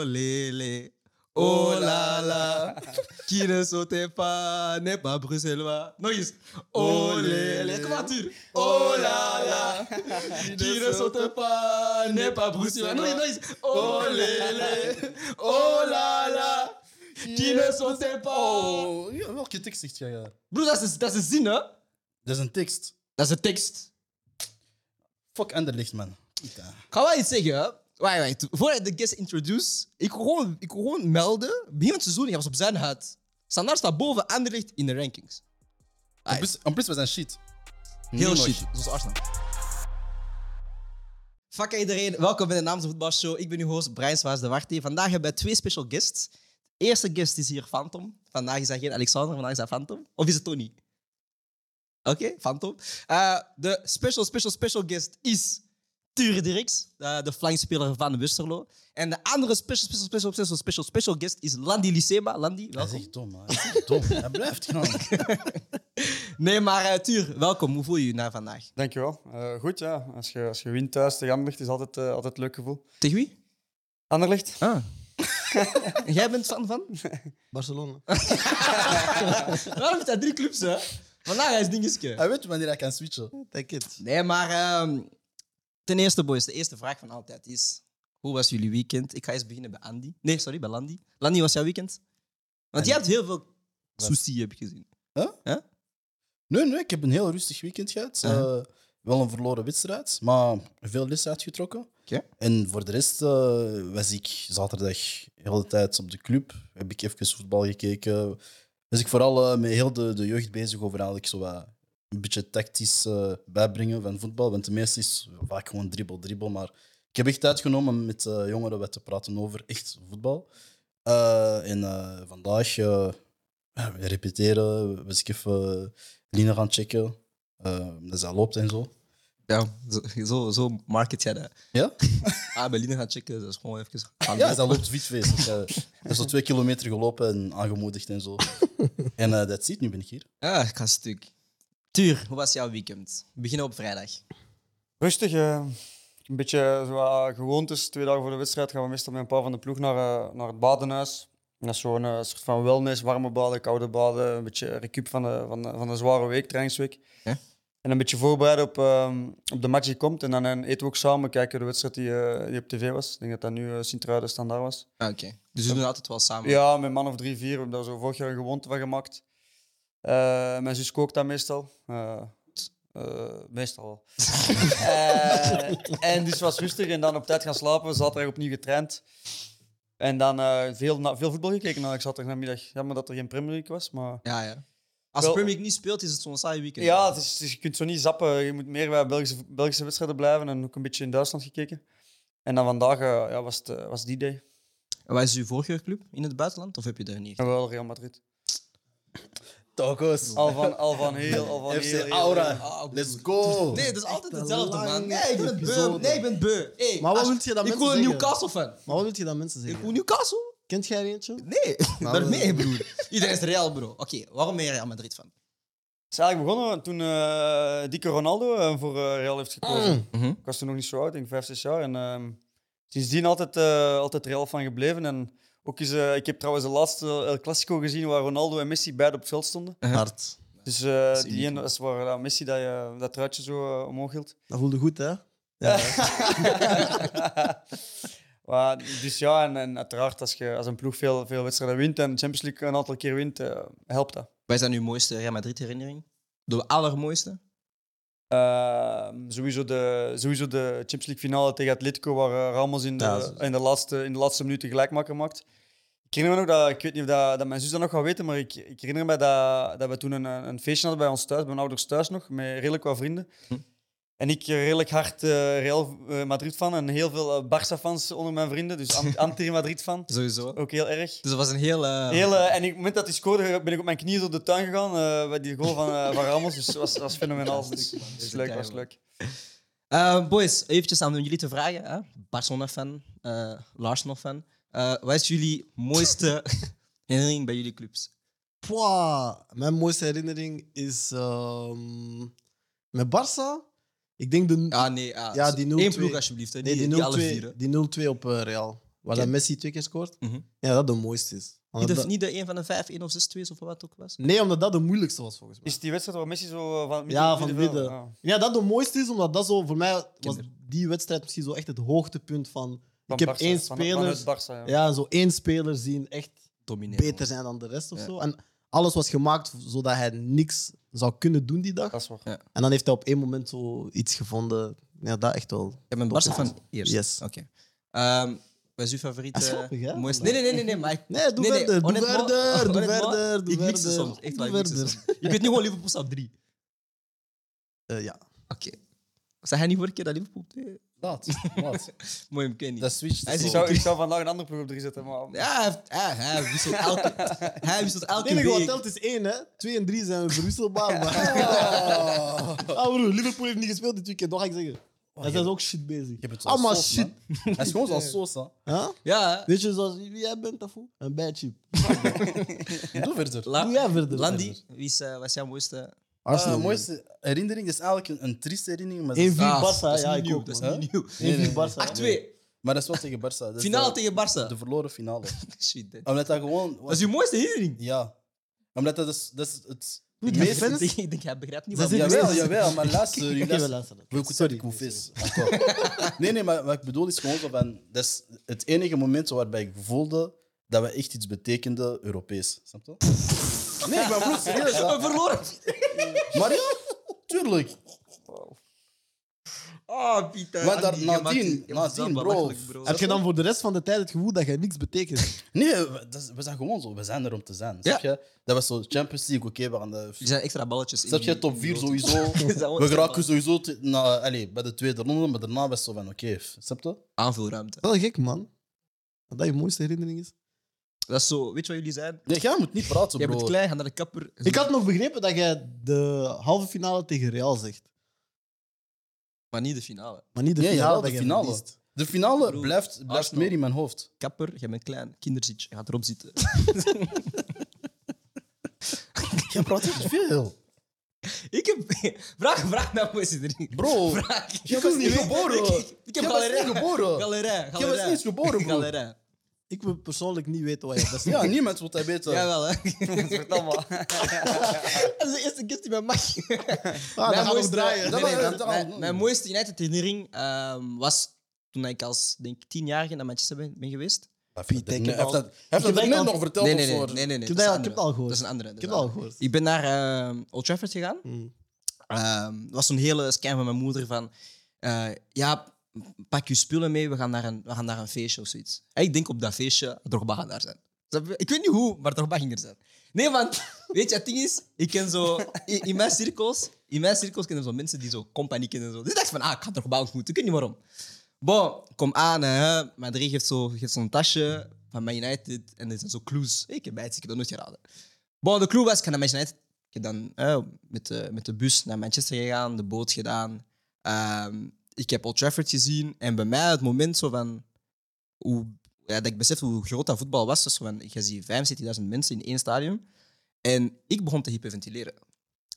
Olele, oh la la, qui ne sautait pas n'est pas bruxellois. Non, yes. Olele, comment tu Oh la la, qui ne sautait pas n'est pas bruxellois. Non, yes, non, yes. Olele, oh la la, qui ne sautait pas. Oh, ja, welke tekst zegt jij daar? Broer, dat is, dat is een zin, hè? Dat is een tekst. Dat is een tekst. Fuck Anderlicht, man. Putain. Ik ga wel iets zeggen, hè? Wacht, wacht. Voordat ik de guest introduce, ik wil gewoon, ik wil gewoon melden. Begin van het seizoen, hij was op zijn huid. Standaard staat boven Anderlecht in de rankings. En plus, en plus, we zijn shit. Heel Niemand. shit. Zoals Arsenal. Fuck iedereen, welkom bij de Naamse Voetbalshow. Ik ben uw host Brian Swaas de Warte. Vandaag hebben wij twee special guests. De eerste guest is hier Phantom. Vandaag is hij geen Alexander, vandaag is hij Phantom. Of is het Tony? Oké, Phantom. Eh, de special, special, special guest is Ture Dirks, eh, de flankspeler van Westerlo. En de andere special, special, special, special, special, special guest is Landy Lissema. Landy, Hij is welkom. echt dom, man. Hij is echt dom. Hij blijft gewoon. Nee, maar eh, Tuur, welkom. Hoe voel je je na vandaag? Dankjewel. Eh goed, ja. Als je, als je wint thuis tegen Anderlecht, is altijd, eh, altijd een leuk gevoel. Tegen wie? Anderlecht? Ah. Jij bent fan van? Barcelona. Waarom heeft hij drie clubs, hè? Vandaag is het dingetje. Hij weet wanneer hij kan switchen. Take it. Nee, maar ehm, ten eerste, boys, de eerste vraag van altijd is... Hoe was jullie weekend? Ik ga eens beginnen bij Andy. Nee, sorry, bij Landy. Landy, was jouw weekend? Want jij hebt heel veel sushi, heb ik gezien. Nee, nee, ik heb een heel rustig weekend gehad. Eh, wel een verloren wedstrijd, maar veel lessen uitgetrokken. Oké. En voor de rest eh, was ik zaterdag de hele tijd op de club. Heb ik even voetbal gekeken. Was ik vooral eh, met heel de, de jeugd bezig over eigenlijk zo wat een beetje tactisch eh, bijbrengen van voetbal. Want de meeste is vaak gewoon dribbel, dribbel. Maar ik heb echt tijd genomen om met eh, jongeren wat te praten over echt voetbal. Eh, en eh, vandaag eh, ja, we repeteren, was ik even eh, Lina gaan checken. eh, dat ze loopt en zo. Ja, zo, zo, zo market jij dat. Ja? Ah, Berlin gaan checken, dat is gewoon even... gaan Ah, Ja, lopen. ze loopt fietsfeest. Dus, eh, dat is zo twee kilometer gelopen en aangemoedigd en zo. En eh, dat ziet, nu ben ik hier. Ja, ik ga stuk. Tuur, hoe was jouw weekend? We beginnen op vrijdag. Rustig. eh, een beetje eh, zo, wat gewoontes. Twee dagen voor de wedstrijd gaan we meestal met een paar van de ploeg naar, eh, naar het badenhuis. En Dat is zo'n eh, soort van wellness, warme baden, koude baden. Een beetje recup van de, van de, van de zware week, trainingsweek. Ja. En een beetje voorbereiden op, eh, op de match die komt. En dan eh, eten we ook samen, kijken de wedstrijd die, eh, die op tv was. Ik denk dat dat nu eh, Sint-Truiden standaard was. Ah, Oké. Dus we doen altijd wel samen. Ja, met man of drie, vier. We hebben daar zo vorig jaar een gewoonte van gemaakt. Eh, mijn zus kookt dat meestal. Eh, eh, meestal wel. Eh, en dus was rustig en dan op tijd gaan slapen. Zaterdag opnieuw getraind. En dan eh, veel, na- veel voetbal gekeken eigenlijk zaterdag namiddag. Jammer dat er geen Premier League was, maar... Ja, ja. Als de Wel- Premier League niet speelt, is het zo'n saai weekend. Ja, het is, het is- je kunt zo niet zappen. Je moet meer bij Belgische, Belgische wedstrijden blijven en ook een beetje in Duitsland gekeken. En dan vandaag eh, ja, was, het, eh, was die day. En waar is uw vorige club? In het buitenland? Of heb je daar niet? En wel Real Madrid. Tacos. Al van, al van heel, al van heel, heel, FC heel, Aura. Ah, Let's go. Nee, dat is altijd een hetzelfde, man. lange Nee, ik ben beu. episode. Nee, ik ben beu. Hey, Maar wat als- wil je dat Ik mensen wil een zeggen? Newcastle-fan. Maar wat wil je dat mensen Ik zeggen? wil Newcastle? Kent jij er eentje? Nee, Maar daarmee, broer. Iedereen is Real, bro. Oké, waarom ben je Real Madrid-fan? Het is eigenlijk begonnen toen eh Dikke Ronaldo eh, voor eh, Real heeft gekozen. Mhm. Ik was toen nog niet zo oud, denk ik 5, 6 jaar. En ehm, sindsdien altijd, eh, altijd Real van gebleven. En ook eens, eh, ik heb trouwens de laatste El Clasico gezien waar Ronaldo en Messi beide op het veld stonden. Hard. Dus eh, is uniek, die ene was waar eh, Messi dat, eh, dat truitje zo eh, omhoog hield. Dat voelde goed, hè? Ja. Maar, dus ja, en, en uiteraard als, je, als een ploeg veel, veel wedstrijden wint en de Champions League een aantal keer wint, eh, helpt dat. Wij zijn uw mooiste Real Madrid-herinnering. De allermooiste. Eh, sowieso, de, sowieso de Champions League finale tegen Atletico, waar eh, Ramos in de, Ja, zo- in de laatste, in de laatste minuut de gelijkmaker maakt. Ik herinner me nog, dat, ik weet niet of dat, dat mijn zus dat nog gaat weten, maar ik, ik herinner me dat, dat we toen een, een feestje hadden bij ons thuis, bij mijn ouders thuis nog, met redelijk wat vrienden. En ik eh, redelijk hard eh, Real eh, Madrid van en heel veel Barça-fans onder mijn vrienden, dus an- anti-Madrid van. Sowieso. Ook heel erg. Dus dat was een heel... eh, Heel, eh, en ik, op het moment dat hij scoorde, ben ik op mijn knieën door de tuin gegaan eh, bij die goal van, eh, van Ramos. Dus dat was, dat was fenomenaal. Dus, was leuk, was leuk. Eh, boys, eventjes aan jullie te vragen. Hè? Barcelona-fan, eh Larsenal-fan. Eh, wat is jullie mooiste herinnering bij jullie clubs? Pwa, mijn mooiste herinnering is ehm, met Barça. Ik denk de, Ah, nee. Ah, Ja, zo- die Eén 0-2. ploeg, alsjeblieft. Hè? nee, die, die, die alle vier. hè. 0-2, die 0-2 op eh, Real. Waar Oké. dat Messi twee keer scoort. Mhm. Ja, dat de mooiste is. Niet Omdat de, dat- niet de 1 van de 5, 1 of 6, 2 of wat het ook was. Nee, omdat dat de moeilijkste was volgens mij. Is die wedstrijd waar Messi zo eh, van het Ja, van het middenveld- midden. ah. Ja, dat de mooiste is, omdat dat zo voor mij was Kinder. die wedstrijd misschien zo echt het hoogtepunt van. Van ik heb Barca, één van- speler. vanuit Barca, ja. Ja, zo één speler zien echt Domineren. beter zijn dan de rest of Ja. zo. En alles was gemaakt zodat hij niks zou kunnen doen die dag. Dat is waar. En dan heeft hij op één moment zo iets gevonden. Ja, dat echt wel. Ik ben Barca van eerst. Yes. Oké. Ehm, wat is uw favoriete... Dat is grappig, hè? mooiste... Nee, nee, nee, nee, nee, maar ik- Nee, doe Nee, nee, verder, doe honnêtement- verder, doe honnêtement, verder, doe ik mix ze verder. soms. Echt waar, ik Doe mix ze verder. soms. Ik weet nu gewoon Liverpool staat op 3. Eh, ja. Oké. Zeg hij niet vorige keer dat Liverpool op 2? Laat, laat. Mooi, ik weet niet. Dat switch. Hij is Ik zo- zou, ik zou vandaag een ander ploeg op drie zetten, maar... Ja, hij, heeft- hij, hij wisselt elke, hij wisselt Het elke enige wat week. telt is één, hè? Twee en drie zijn verwisselbaar. Maar... Ah, broer, Liverpool heeft niet gespeeld dit weekend, dat ga ik zeggen. Daar zijn ze ook shit bezig. hebt het zoals Allemaal Sosa, shit. Hij is gewoon zoals Sosa. Huh? Ja, Weet je, zoals wie jij bent, Tafu? Een bad chip. Doe verder. La- Ah, Doe jij verder. Landy, wie is, eh, wat is jouw mooiste? Eh, Arsenal. mooiste herinnering, dat is eigenlijk een, een trieste herinnering, maar dat, 1-4 is, Ah, Barca, dat is ja, niet ik nieuw. ook, Dat is man. niet nieuw. 1-4 Barça. 8-2, maar dat is wel tegen Barça. Dat is finale eh, de- tegen De Barça. verloren finale. Shit, hè. Omdat dat gewoon... dat is uw mooiste herinnering. Ja. Omdat dat is, dat is het Doe die meest... fans? Ik denk, hij begrijpt niet Dat wat zit- Jawel, jawel, maar luister. jullie Ik heb wel luisteren. luisteren. We écouter des confesses. Encore. Nee, nee, maar wat ik bedoel is gewoon zo van... Dat is het enige moment waarbij ik voelde dat we echt iets betekenden Europees. Snap je? Nee, ik ben bloed serieus. We verloren. Maar ja, tuurlijk. Oh, Pieter. Maar daar- Andy, je maakt- nadien- je maakt het wel nadien, bro. belachelijk, bro. Heb je dan voor de rest van de tijd het gevoel dat jij niks betekent? Nee, we, dat is- we zijn gewoon zo. We zijn er om te zijn. Snap je? Dat was zo Champions League. Oké, we gaan de... Er zijn extra balletjes in. Snap je? die- die Top 4 rood. sowieso. Is dat We wat- geraken sowieso te- na, allez, bij de tweede ronde, maar daarna was het zo van oké. snap je? Aanvulruimte. Wel gek, man. Dat dat je mooiste herinnering is. Dat is zo, weet je wat jullie zijn? Nee, jij moet niet praten, Jij bro. bent klein, ga naar de kapper. Ik had nog begrepen dat jij de halve finale tegen Real zegt. Maar niet de finale. Maar niet de Ja, ja, finale. wel de dat jij finale. verliest. De finale Bro, blijft, blijft Arsenal. meer in mijn hoofd. Kapper, jij bent klein. Kinderzit, je gaat erop zitten. Jij praat niet te veel. Ik heb... Vraag, vraag naar mooiste herinnering. Bro, Vraag. jij was niet geboren. Ik, ik, ik heb Jij was galerij. niet geboren. Galerij, Jij was galerij. niet eens geboren, bro. Galerij. Ik wil persoonlijk niet weten wat je best Ja, niemand wil dat weten. Jawel, hè. Vertel maar. Dat is de eerste gift die mij mag. Ah, dat gaat nog draaien. Nee, Dat nee, gaat dat- nog mijn, draaien. mijn mooiste United herinnering ehm, was toen ik als denk, tienjarige naar Manchester ben, ben geweest. Piet, denk Hij het al. heeft dat- hij heeft dat er Ik denk net al- nog verteld nee, of nee, nee, zo. nee, nee, nee, dat Ik heb is dat- een ik heb andere. dat al gehoord. Dat is een andere. dus dat Ik is heb een dat al andere. Ik gehoord. ben naar ehm, Old Trafford gegaan. Mm. Ehm, Het was zo'n hele scan van mijn moeder van... eh, ja, pak je spullen mee, we gaan naar een, we gaan naar een feestje of zoiets. En ik denk op dat feestje, Drogba gaat daar zijn. Snap je? Ik weet niet hoe, maar Drogba ging er zijn. Nee, want weet je, het ding is, ik ken zo... In, in mijn cirkels, in mijn cirkels kennen zo mensen die zo compagnie kennen. en Zo. Dus ik dacht van, ah, ik ga Drogba ontmoeten. Ik weet niet waarom. Bon, kom aan, hè. Madrid geeft zo'n geeft zo'n tasje van Man United. En er zijn zo clues. Ik heb bij het, ik heb dat nooit geraden. Bon, de clue was, ik ga naar Man United. Ik heb dan hè, met, de, met de bus naar Manchester gegaan, de boot gedaan. Ehm, ik heb Old Trafford gezien. En bij mij het moment zo van... Hoe, ja, dat ik besefte hoe groot dat voetbal was. Dus zo van, je ziet 75.000 mensen in één stadion. En ik begon te hyperventileren.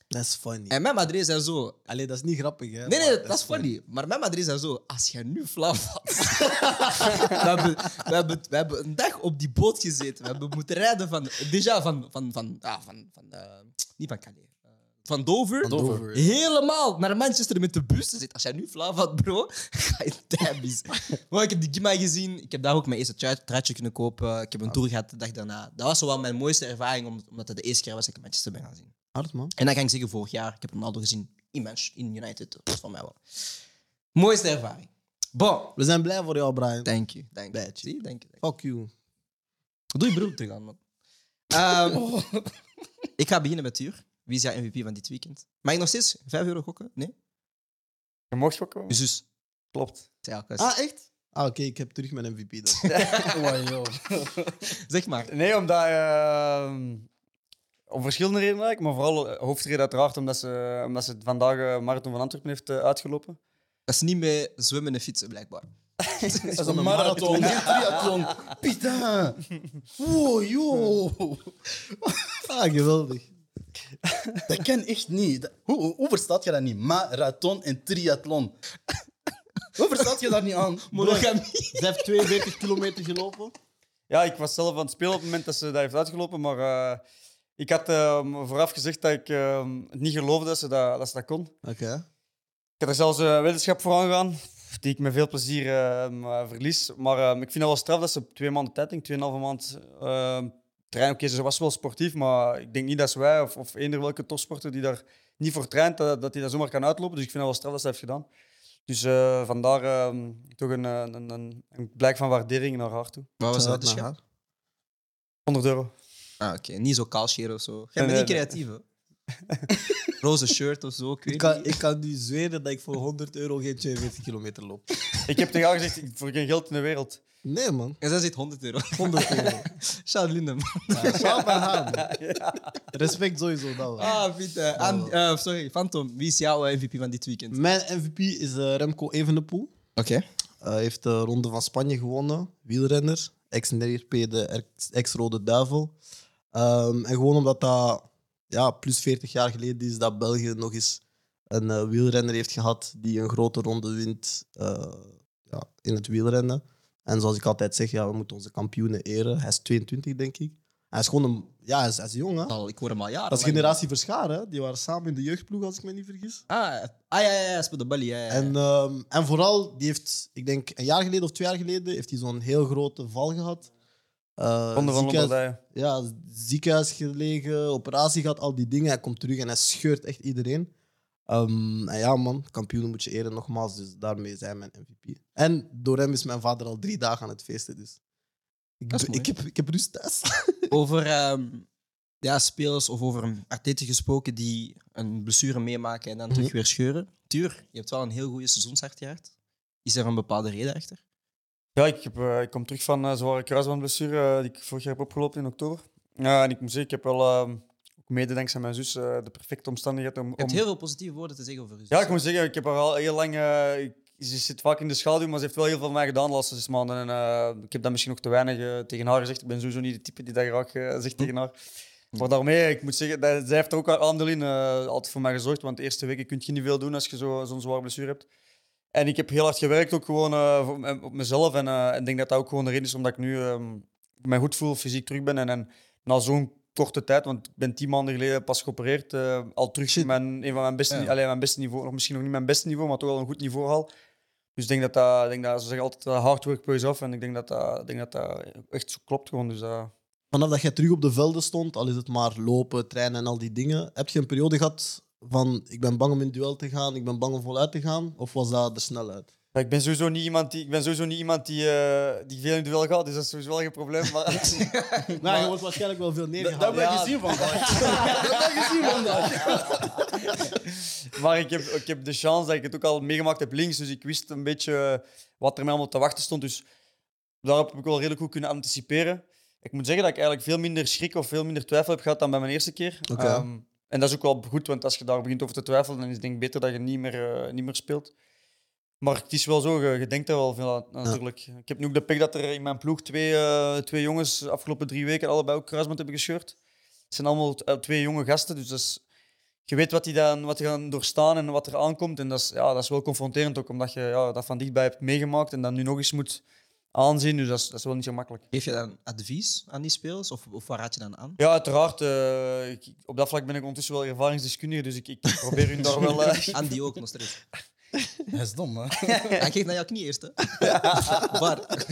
Dat is funny. En mijn Madrid zei zo... Allee, dat is niet grappig, hè? Nee, maar nee, dat is funny. Maar mijn madrid zei zo, als jij nu flauw valt... we, hebben, we, hebben, we hebben een dag op die boot gezeten. We hebben moeten rijden van... Déjà van... van, van, ah, van, van eh, niet van Calais. eh, van Dover. Van Dover. Helemaal naar Manchester met de bus. Ze zegt, als jij nu flauw valt, bro, ga je tabbies. Maar ik heb die Gima gezien. Ik heb daar ook mijn eerste trui- truitje kunnen kopen. Ik heb een tour gehad de dag daarna. Dat was zo wel mijn mooiste ervaring, om- omdat het de eerste keer was dat ik Manchester ben gaan zien. Hard, man. En dan kan ik zeggen, vorig jaar, ik heb Ronaldo gezien in, Manch- in United. Dat is van mij wel. Mooiste ervaring. Bon. We zijn blij voor jou, Brian. Thank you. Thank you. Bad Zie, je? thank you. thank Fuck you. you. Doe je beroep terug aan, man. Ehm, Ik ga beginnen met Tuur. Wie is jouw MVP van dit weekend? Mag ik nog steeds 5 euro gokken? Nee? Je mocht gokken? Je zus. Klopt. Zeg, elke- Ah, echt? Ah, oké, ik heb terug mijn MVP dan. Oh, joh. zeg maar. Nee, omdat... ehm om verschillende redenen eigenlijk, maar vooral eh, hoofdreden uiteraard omdat ze, omdat ze vandaag eh, Marathon van Antwerpen heeft eh, uitgelopen. Dat is niet meer zwemmen en fietsen, blijkbaar. Dat is een marathon, geen triathlon. Pita. Wow, joh. Ah, geweldig. Dat kan echt niet. Dat- hoe, hoe verstaat je dat niet? Marathon en triathlon. Hoe verstaat je daar niet aan? Monogamie. Ze heeft 42 kilometer gelopen. Ja, ik was zelf aan het spelen op het moment dat ze dat heeft uitgelopen, maar eh, ik had ehm, vooraf gezegd dat ik ehm, het niet geloofde dat ze dat, dat ze dat kon. Oké. Ik heb er zelfs een wetenschap voor aangegaan, die ik met veel plezier ehm, eh, verlies. Maar ehm, ik vind dat wel straf dat ze op twee maanden tijd, denk ik, tweeënhalve maand ehm trainen. Oké, ze was wel sportief, maar ik denk niet dat wij of, of eender welke topsporter die daar niet voor traint, dat, dat die dat zomaar kan uitlopen. Dus ik vind dat wel straf dat ze dat heeft gedaan. Dus eh, vandaar ehm, toch een, eh, een, een, een blijk van waardering naar haar toe. Wat was Zou dat, het de maar schap? €100 euro. Ah, oké. Niet zo kaalscheren of zo. Jij Nee, bent niet nee, creatief, hè? Roze shirt of zo, ik weet Ik kan, niet. ik kan nu zweren dat ik voor 100 euro geen 42 kilometer loop. Ik heb tegen haar gezegd, ik- voor geen geld in de wereld. Nee, man. En zij zit 100 euro. 100 euro. Shout Lindem. Ja, shout aan haar, man. Respect sowieso, dat wel. Ah, Pieter. Aan- eh, sorry, Phantom. Wie is jouw eh, MVP van dit weekend? Mijn MVP is eh, Remco Evenepoel. Eh, Oké. Hij heeft de Ronde van Spanje gewonnen, wielrenner. Ex-NRP, de ex- ex-Rode Duivel. Ehm, en gewoon omdat dat ja, plus 40 jaar geleden is dat België nog eens een eh, wielrenner heeft gehad die een grote ronde wint eh, ja, in het wielrennen. En zoals ik altijd zeg, ja, we moeten onze kampioenen eren. Hij is 22, denk ik. Hij is gewoon een... Ja, hij is, hij is jong, hè? Al, Ik hoor hem al jaren. Dat is lang. generatie Verschaar, hè? Die waren samen in de jeugdploeg, als ik me niet vergis. Ah, ah ja, ja, ja. Speel de balie. Ja, ja. ja. En, ehm, en vooral, die heeft, ik denk een jaar geleden of twee jaar geleden, heeft hij zo'n heel grote val gehad. Eh, Ronde van ziekenhuis- Lombardije. Ja, ziekenhuis gelegen, operatie gehad, al die dingen. Hij komt terug en hij scheurt echt iedereen. Ehm, en ja, man, kampioenen moet je eren nogmaals. Dus daarmee zijn mijn MVP. En door hem is mijn vader al drie dagen aan het feesten. Dus ik, Dat is be- mooi. ik, heb, ik heb rust thuis. Over ehm, ja, spelers of over atleten gesproken die een blessure meemaken en dan terug Mhm. weer scheuren. Tuur, je hebt wel een heel goede seizoenstart gehad. Is er een bepaalde reden achter? Ja, ik, heb, eh, ik kom terug van een zware kruisbandblessure eh, die ik vorig jaar heb opgelopen in oktober. Ja, en ik moet zeggen, ik heb wel, ehm, ook mede dankzij mijn zus, eh, de perfecte omstandigheid om... Je hebt om- heel veel positieve woorden te zeggen over jezelf. Ja, ik moet zeggen, ik heb haar al heel lang... eh, ik, ze zit vaak in de schaduw, maar ze heeft wel heel veel van mij gedaan de laatste zes maanden. En, eh, ik heb dat misschien nog te weinig eh, tegen haar gezegd. Ik ben sowieso niet de type die dat graag eh, zegt tegen haar. Maar daarmee, ik moet zeggen, dat, zij heeft er ook haar aandeel in eh, altijd voor mij gezorgd. Want de eerste weken kun je niet veel doen als je zo- zo'n zware blessure hebt. En ik heb heel hard gewerkt ook gewoon eh, voor m- op mezelf. En eh, ik denk dat dat ook gewoon de reden is omdat ik nu ehm, mij goed voel, fysiek terug ben. En, en na zo'n korte tijd, want ik ben tien maanden geleden pas geopereerd, eh, al terug Shit. mijn, een van mijn beste, Ja. allee, mijn beste niveau. Nog misschien nog niet mijn beste niveau, maar toch wel een goed niveau haal. Dus ik denk dat dat, ik denk dat ze zeggen altijd eh, hard work pays off. En ik denk dat dat, ik denk dat, dat echt zo klopt gewoon. Dus dat- vanaf dat jij terug op de velden stond, al is het maar lopen, trainen en al die dingen, heb je een periode gehad van ik ben bang om in duel te gaan, ik ben bang om voluit te gaan, of was dat er snel uit? Ja, Ik ben sowieso niet iemand die, ik ben sowieso niet iemand die, eh, die veel in duel gaat, dus dat is sowieso wel geen probleem. Maar, Maar je wordt waarschijnlijk wel veel neergehaald. dat ben ik Ja. gezien vandaag. dat heb ik gezien vandaag. maar ik, heb, ik heb de chance dat ik het ook al meegemaakt heb links, dus ik wist een beetje eh, wat er mij allemaal te wachten stond. Dus daarop heb ik wel redelijk goed kunnen anticiperen. Ik moet zeggen dat ik eigenlijk veel minder schrik of veel minder twijfel heb gehad dan bij mijn eerste keer. Oké. Ehm, en dat is ook wel goed, want als je daar begint over te twijfelen, dan is het denk ik beter dat je niet meer, eh, niet meer speelt. Maar het is wel zo, je, je denkt er wel veel aan natuurlijk. Ik heb nu ook de pech dat er in mijn ploeg twee, eh, twee jongens de afgelopen drie weken allebei ook kruisband hebben gescheurd. Het zijn allemaal t- eh, twee jonge gasten, dus dat is- je weet wat die, dan, wat die gaan doorstaan en wat er aankomt. En dat is, ja, dat is wel confronterend ook, omdat je ja, dat van dichtbij hebt meegemaakt en dat nu nog eens moet aanzien. Dus dat is, dat is wel niet zo makkelijk. Geef je dan advies aan die spelers? Of, of waar raad je dan aan? Ja, uiteraard. eh, ik- op dat vlak ben ik ondertussen wel ervaringsdeskundige, dus ik, ik probeer hun daar wel... eh, Aan die ook, nog stress. Hij is dom, hè? Hij geeft naar jouw knie eerst, hè? Waar?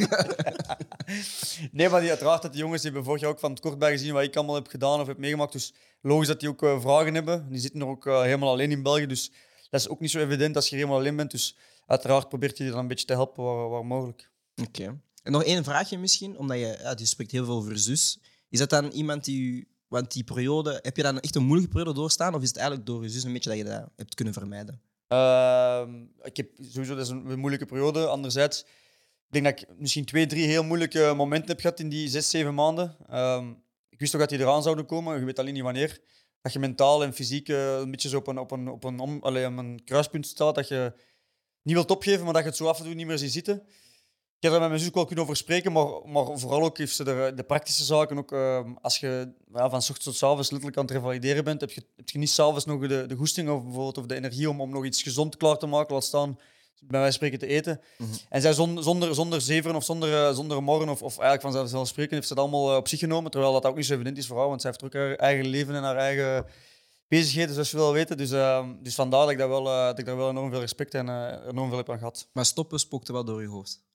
Nee, maar die, uiteraard dat die jongens die hebben vorig jaar ook van het kort bij gezien wat ik allemaal heb gedaan of heb meegemaakt. Dus logisch dat die ook eh, vragen hebben. Die zitten er ook eh, helemaal alleen in België. Dus dat is ook niet zo evident als je helemaal alleen bent. Dus uiteraard probeert je die dan een beetje te helpen waar, waar mogelijk. Oké. En nog één vraagje misschien, omdat je, ja, je spreekt heel veel over je zus. Is dat dan iemand die u, want die periode, heb je dan echt een moeilijke periode doorstaan? Of is het eigenlijk door je zus een beetje dat je dat hebt kunnen vermijden? Ehm, ik heb sowieso dat is een moeilijke periode. Anderzijds, ik denk dat ik misschien twee, drie heel moeilijke momenten heb gehad in die zes, zeven maanden. Ehm, ik wist toch dat die eraan zouden komen, je weet alleen niet wanneer. Dat je mentaal en fysiek eh, een beetje zo op een, op een, op een, om, allee, op een kruispunt staat. Dat je niet wilt opgeven, maar dat je het zo af en toe niet meer ziet zitten. Ik heb daar met mijn zus ook wel kunnen over spreken, maar, maar vooral ook heeft ze er, eh, de praktische zaken. Ook, ehm, als je ja, van 's ochtends tot 's avonds letterlijk aan het revalideren bent, heb je, heb je niet s'avonds nog de, de goesting of bijvoorbeeld of de energie om, om nog iets gezond klaar te maken, laat staan bij wijze van spreken te eten. Mhm. En zij zon- zonder, zonder zeven of zonder, eh, zonder morgen of, of eigenlijk vanzelfsprekend heeft ze dat allemaal eh, op zich genomen. Terwijl dat ook niet zo evident is voor haar, want zij heeft ook haar eigen leven en haar eigen bezigheden, zoals je wel weet. Dus, eh, dus vandaar dat ik, dat wel, eh, dat ik daar wel enorm veel respect en eh, enorm veel heb aan gehad. Maar stoppen spookte wel door je hoofd.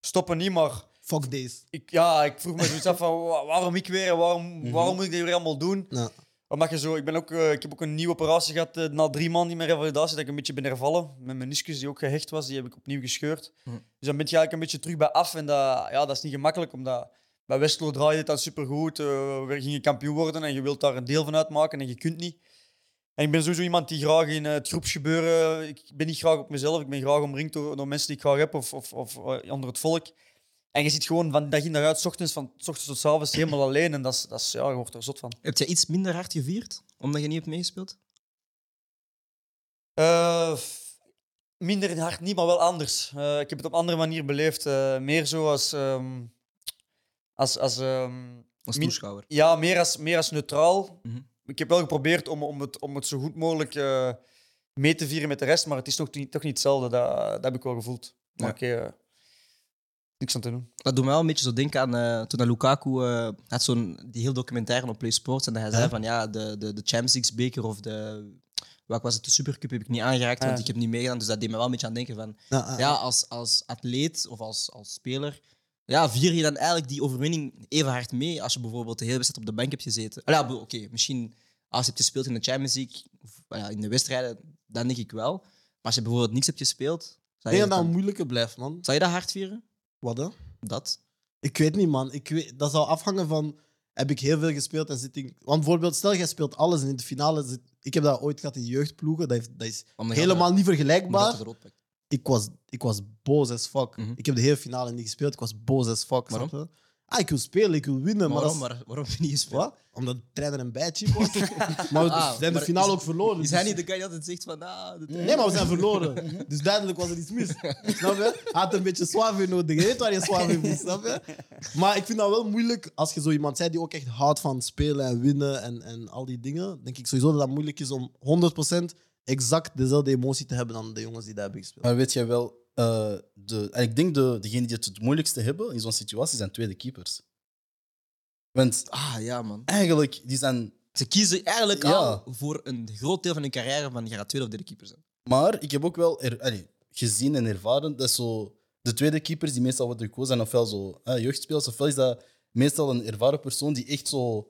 Stoppen niet, maar Fuck deze. ik, ja, ik vroeg me zoiets af van wa- waarom ik weer en waarom, waarom moet ik dit weer allemaal doen? Ja. Omdat je zo, ik, ben ook, eh, ik heb ook een nieuwe operatie gehad eh, na drie maanden niet meer revalidatie, dat ik een beetje ben hervallen. Mijn meniscus die ook gehecht was, die heb ik opnieuw gescheurd. Mhm. Dus dan ben je eigenlijk een beetje terug bij af en dat, ja, dat is niet gemakkelijk, omdat bij Westlo draaide het dan supergoed. eh, we gingen kampioen worden en je wilt daar een deel van uitmaken en je kunt niet. En ik ben sowieso iemand die graag in eh, het groepsgebeuren, ik ben niet graag op mezelf, ik ben graag omringd door, door mensen die ik graag heb of, of, of eh, onder het volk. En je zit gewoon van dag in dag uit, 's ochtends, van, 's ochtends tot 's avonds, helemaal alleen. En dat is, dat is, ja, je wordt er zot van. Heb je iets minder hard gevierd omdat je niet hebt meegespeeld? Eh, f- minder hard niet, maar wel anders. Eh, ik heb het op andere manier beleefd. eh, meer zo als... ehm, als, als ehm, Als Min- toeschouwer. ja, meer als, meer als neutraal. Mhm. Ik heb wel geprobeerd om, om, het, om het zo goed mogelijk eh, mee te vieren met de rest, maar het is toch, niet- toch niet hetzelfde. Dat, dat heb ik wel gevoeld. Maar Ja. oké, eh, niks aan te doen. Dat doet me wel een beetje zo denken aan eh, toen dat Lukaku eh, had zo'n die heel documentaire op Play Sports en dat hij zei Ja. van ja, de, de, de Champions League beker of de wat was het, de Supercup heb ik niet aangeraakt, want Ja. ik heb niet meegedaan. Dus dat deed me wel een beetje aan denken van Ja, Ah, ja. ja, als, als atleet of als, als speler, ja, vier je dan eigenlijk die overwinning even hard mee als je bijvoorbeeld de hele wedstrijd op de bank hebt gezeten? Ah, Ja, bo- oké, misschien als je hebt gespeeld in de Champions League, of, ah ja, in de wedstrijden, dan denk ik wel. Maar als je bijvoorbeeld niks hebt gespeeld, Ik zou denk je, dat dat dat, een moeilijke blijft, man. zou je dat hard vieren? Wat dan? Dat? Ik weet niet, man. Ik weet, dat zou afhangen van. Heb ik heel veel gespeeld en zit ik. Want bijvoorbeeld, stel jij speelt alles en in de finale zit. Ik heb dat ooit gehad in jeugdploegen. Dat, heeft- dat is Omdat je helemaal niet omdat je vergelijkbaar. het rood pakt. Ik was, ik was boos as fuck. Mhm. Ik heb de hele finale niet gespeeld. Ik was boos as fuck. Waarom? snap je? Ah, ik wil spelen, ik wil winnen. Maar, Maar dat waarom, is- maar, waarom heb je niet gespeeld? Wat? Omdat de trainer een bijtje was. maar we Ah, zijn maar de finale is- ook verloren. Is dus- hij niet de guy die altijd zegt van... Ah, de Mhm. Nee, maar we zijn verloren. Dus duidelijk was er iets mis. Snap je? Hij had een beetje suave nodig. Je weet waar je suave is, snap je? Maar ik vind dat wel moeilijk als je zo iemand bent die ook echt houdt van spelen en winnen en, en al die dingen. Denk ik sowieso dat dat moeilijk is om 100% exact dezelfde emotie te hebben dan de jongens die daar hebben gespeeld. Maar weet jij wel, eh, de, en ik denk de, degene die het het moeilijkste hebben in zo'n situatie zijn tweede keepers. Want Ah, ja, man. eigenlijk, die zijn Ze kiezen eigenlijk Ja. al voor een groot deel van hun carrière van... Je gaat tweede of derde keeper zijn. Maar ik heb ook wel er, allee, gezien en ervaren dat zo de tweede keepers die meestal worden gekozen zijn, ofwel zo hè, jeugdspelers, ofwel is dat meestal een ervaren persoon die echt zo.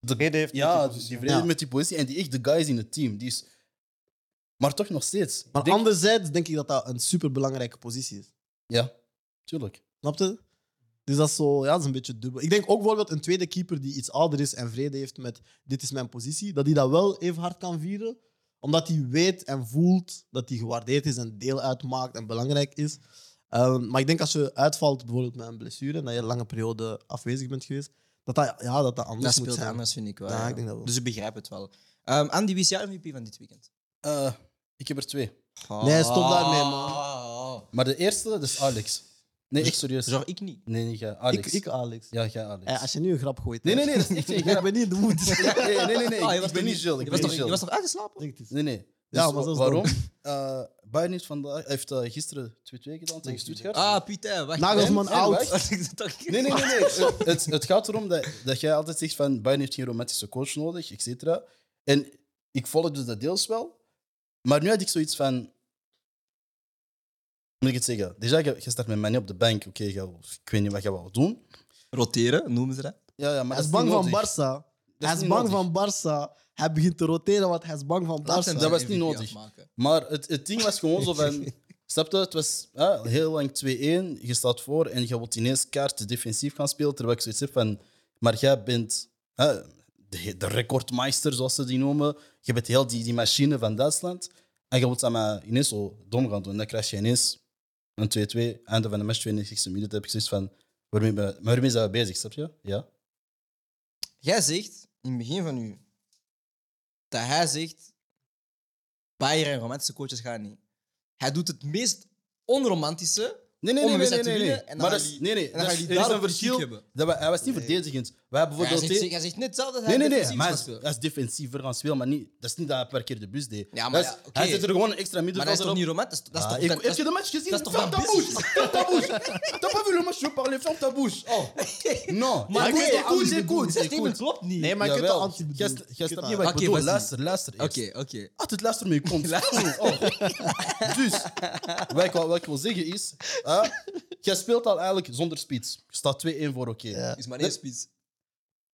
De, Vrede heeft met ja, die die positie. vrede Ja. met die positie en die echt de guy is in het team. Die is, maar toch nog steeds. Ik Maar denk- anderzijds denk ik dat dat een superbelangrijke positie is. Ja, tuurlijk. Snap je? Dus dat is, zo, ja, dat is een beetje dubbel. Ik denk ook bijvoorbeeld een tweede keeper die iets ouder is en vrede heeft met dit is mijn positie, dat hij dat wel even hard kan vieren. Omdat hij weet en voelt dat hij gewaardeerd is en deel uitmaakt en belangrijk is. Ehm, maar ik denk als je uitvalt bijvoorbeeld met een blessure en dat je een lange periode afwezig bent geweest, dat dat, ja, dat, dat anders Dat moet speelt zijn. anders, vind ik wel. Ja, ja. ik denk dat wel. Dus ik begrijp het wel. Ehm Andy, wie is jouw MVP van dit weekend? Eh, ik heb er twee. Nee, stop daarmee, man. man. Maar de eerste, dat is Alex. Nee, echt serieus. Ah. Zorg ik niet. Nee, nee, jij, Ik, Alex. ik Alex. Ja, jij, Alex. Eh, als je nu een grap gooit. Nee, hè. nee, nee, dat is echt geen grap. ik ben niet in de moed. Nee, nee, nee, nee, Ah, je ik, was ben toch niet Jill. Ik Je was ben niet toch, je Jill. was toch uitgeslapen? Denk het. Nee, nee. Ja, Dus maar zo is het waarom? Eh Bayern heeft, vandaag, heeft eh, gisteren 2-2 gedaan tegen Stuttgart. Ah, Pieter, wacht. Nagelsman Nee, nee, out. wacht. Nee, nee, nee. nee. het, het- het gaat erom dat, dat jij altijd zegt van Bayern heeft geen romantische coach nodig, et cetera. En ik volgde dat deels wel. Maar nu had ik zoiets van... Hoe moet ik het zeggen? Déjà, je je staat met mij niet op de bank. Oké, jij wil- ik weet niet wat je wou doen. Roteren, noemen ze dat. Ja, ja, maar Hij is dat bang niet van nodig. Barça. is Hij is niet bang nodig. van Barça. Hij begint te roteren, want hij is bang van Laat hem Barça. Dat was zijn niet MVP nodig. afmaken. Maar het, het ding was gewoon zo van... Snap je? Het was ah, heel lang 2-1. Je staat voor en je wilt ineens kaart defensief gaan spelen. Terwijl ik zoiets heb van... Maar jij bent ah, de, de recordmeister, zoals ze die noemen. Je bent heel die, die machine van Duitsland. En je wilt dat maar ineens zo dom gaan doen. Dan krijg je ineens een 2-2. Einde van de match, 92e minuut. Dan heb ik zoiets van... Waarmee, ben- waarmee zijn we bezig, snap je? Ja. Jij zegt in het begin van u dat hij zegt: Bayern en romantische coaches gaan niet. Hij doet het meest onromantische. Nee, nee, Om nee. een nee, nee, wedstrijd te nee, winnen en dan gaan maar dat is- jullie- nee, nee. en dan dat gaan is- jullie er is daar een een kritiek verschil. hebben. Dat wa- hij was niet verdedigend. Wij Jij bijvoorbeeld... zegt, jij zegt niet hetzelfde. als nee, hij nee, nee. defensief Maar hij zou is, spelen. hij is defensiever gaan spelen, maar niet, dat is niet dat hij per keer de bus deed. Ja, maar Dat is- ja, oké. Hij zit Dus er gewoon een extra Maar dat is middenvelder toch op. niet romantisch? Dat is Ah, toch... ik- dat- Heb je de match gezien? dat is toch Ferme van ta bouche! Ferme ta bouche! T'as pas vu le match, je parlais, ferme ta bouche! Oh, non! Maar Écoute, nee, écoute, Andy écoute, Zijn écoute. statement klopt niet. Nee, maar je kunt Jawel. wel anti Jij snapt- jij snapt niet wat ik Oké, bedoel. vas-y. Luister, luister eerst. Oké, oké. Altijd luister met je kont. Oh. Dus, wat ik, wil- wat ik wil zeggen is... hè, jij speelt al eigenlijk zonder spits. Je staat 2-1 voor, oké. Ja. Is Mané spits?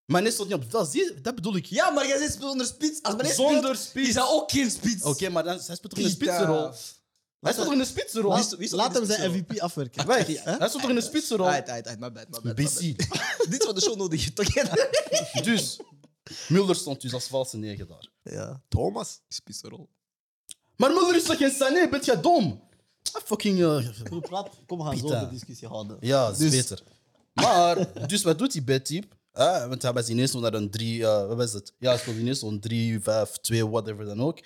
Maar net stond niet op het veld. Zie je, Dat bedoel ik. Ja, maar jij zit zonder spits. Als Mané speelt, zonder spits. is Oké, dat ook geen spits. maar dan, hij speelt toch in een Pita. spitsenrol? Hij speelt toch in een spitsenrol? Wie is- wie is- Laat hem zijn MVP afwerken. Weg. Hij speelt toch in een spitsenrol? Uit, uit, uit. My bad, my bad, my bad. BC. Dit is wat de show nodig heeft, toch? Dus, Mulder stond dus als valse negen daar. Ja. Thomas. Spitsrol. Maar Mulder is toch geen Sané? Ben jij dom? Ah, fucking... eh, Goed, praat. Kom, we gaan zo Pita. de discussie houden. Ja, dat is Dus- beter. Maar, dus wat doet die bedtype? Eh, want hij was ineens naar een 3, eh wat was het? Ja, hij speelde ineens zo'n 3, 5, 2, whatever dan ook.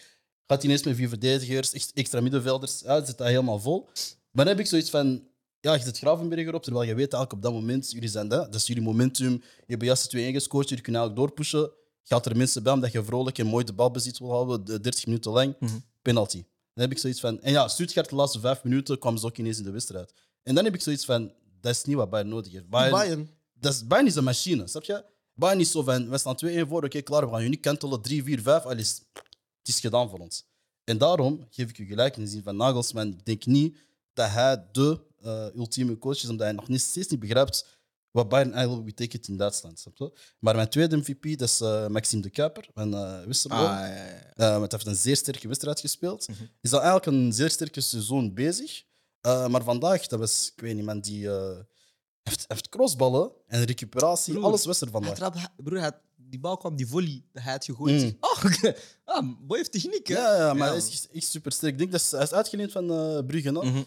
Gaat hij ineens met vier verdedigers, ex- extra middenvelders, ja, zit dat helemaal vol. Maar dan heb ik zoiets van, ja, je zit Gravenberger op, terwijl je weet eigenlijk op dat moment, jullie zijn dat, dat is jullie momentum, je hebt juist de 2-1 gescoord, jullie kunnen eigenlijk doorpushen. Gaat er mensen bij omdat je vrolijk en mooi de balbezit wil houden, de 30 minuten lang, Mhm. penalty. Dan heb ik zoiets van, en ja, Stuttgart de laatste vijf minuten kwam ze ook ineens in de wedstrijd. En dan heb ik zoiets van, dat is niet wat Bayern nodig heeft. Die Bayern, Bayern. dat is, Bayern is een machine, snap je? Bayern is zo van, we staan 2-1 voor, oké, klaar, we gaan je niet kantelen, 3, 4, 5, alles. Het is gedaan voor ons. En daarom geef ik u gelijk in de zin van Nagelsman, ik denk niet dat hij de eh, ultieme coach is, omdat hij nog niet, steeds niet begrijpt wat Bayern eigenlijk betekent in Duitsland, snap je? Maar mijn tweede MVP, dat is eh, Maxime de Kuiper van eh Ah, Westerlo. Eh, want hij heeft een zeer sterke wedstrijd gespeeld. Is al eigenlijk een zeer sterke seizoen bezig. Eh, maar vandaag, dat was, ik weet niet, man, die eh, heeft, heeft crossballen en recuperatie. Broer. Alles was er Hij vandaag. trap, broer, hij, die bal kwam, die volley, dat hij had gegooid. Mm. Oh, ah, boy heeft techniek, hè? Ja, ja, maar Ja. hij is echt super sterk. Ik denk dat ze- hij is uitgeleend van eh Brugge. no? Mhm. Ik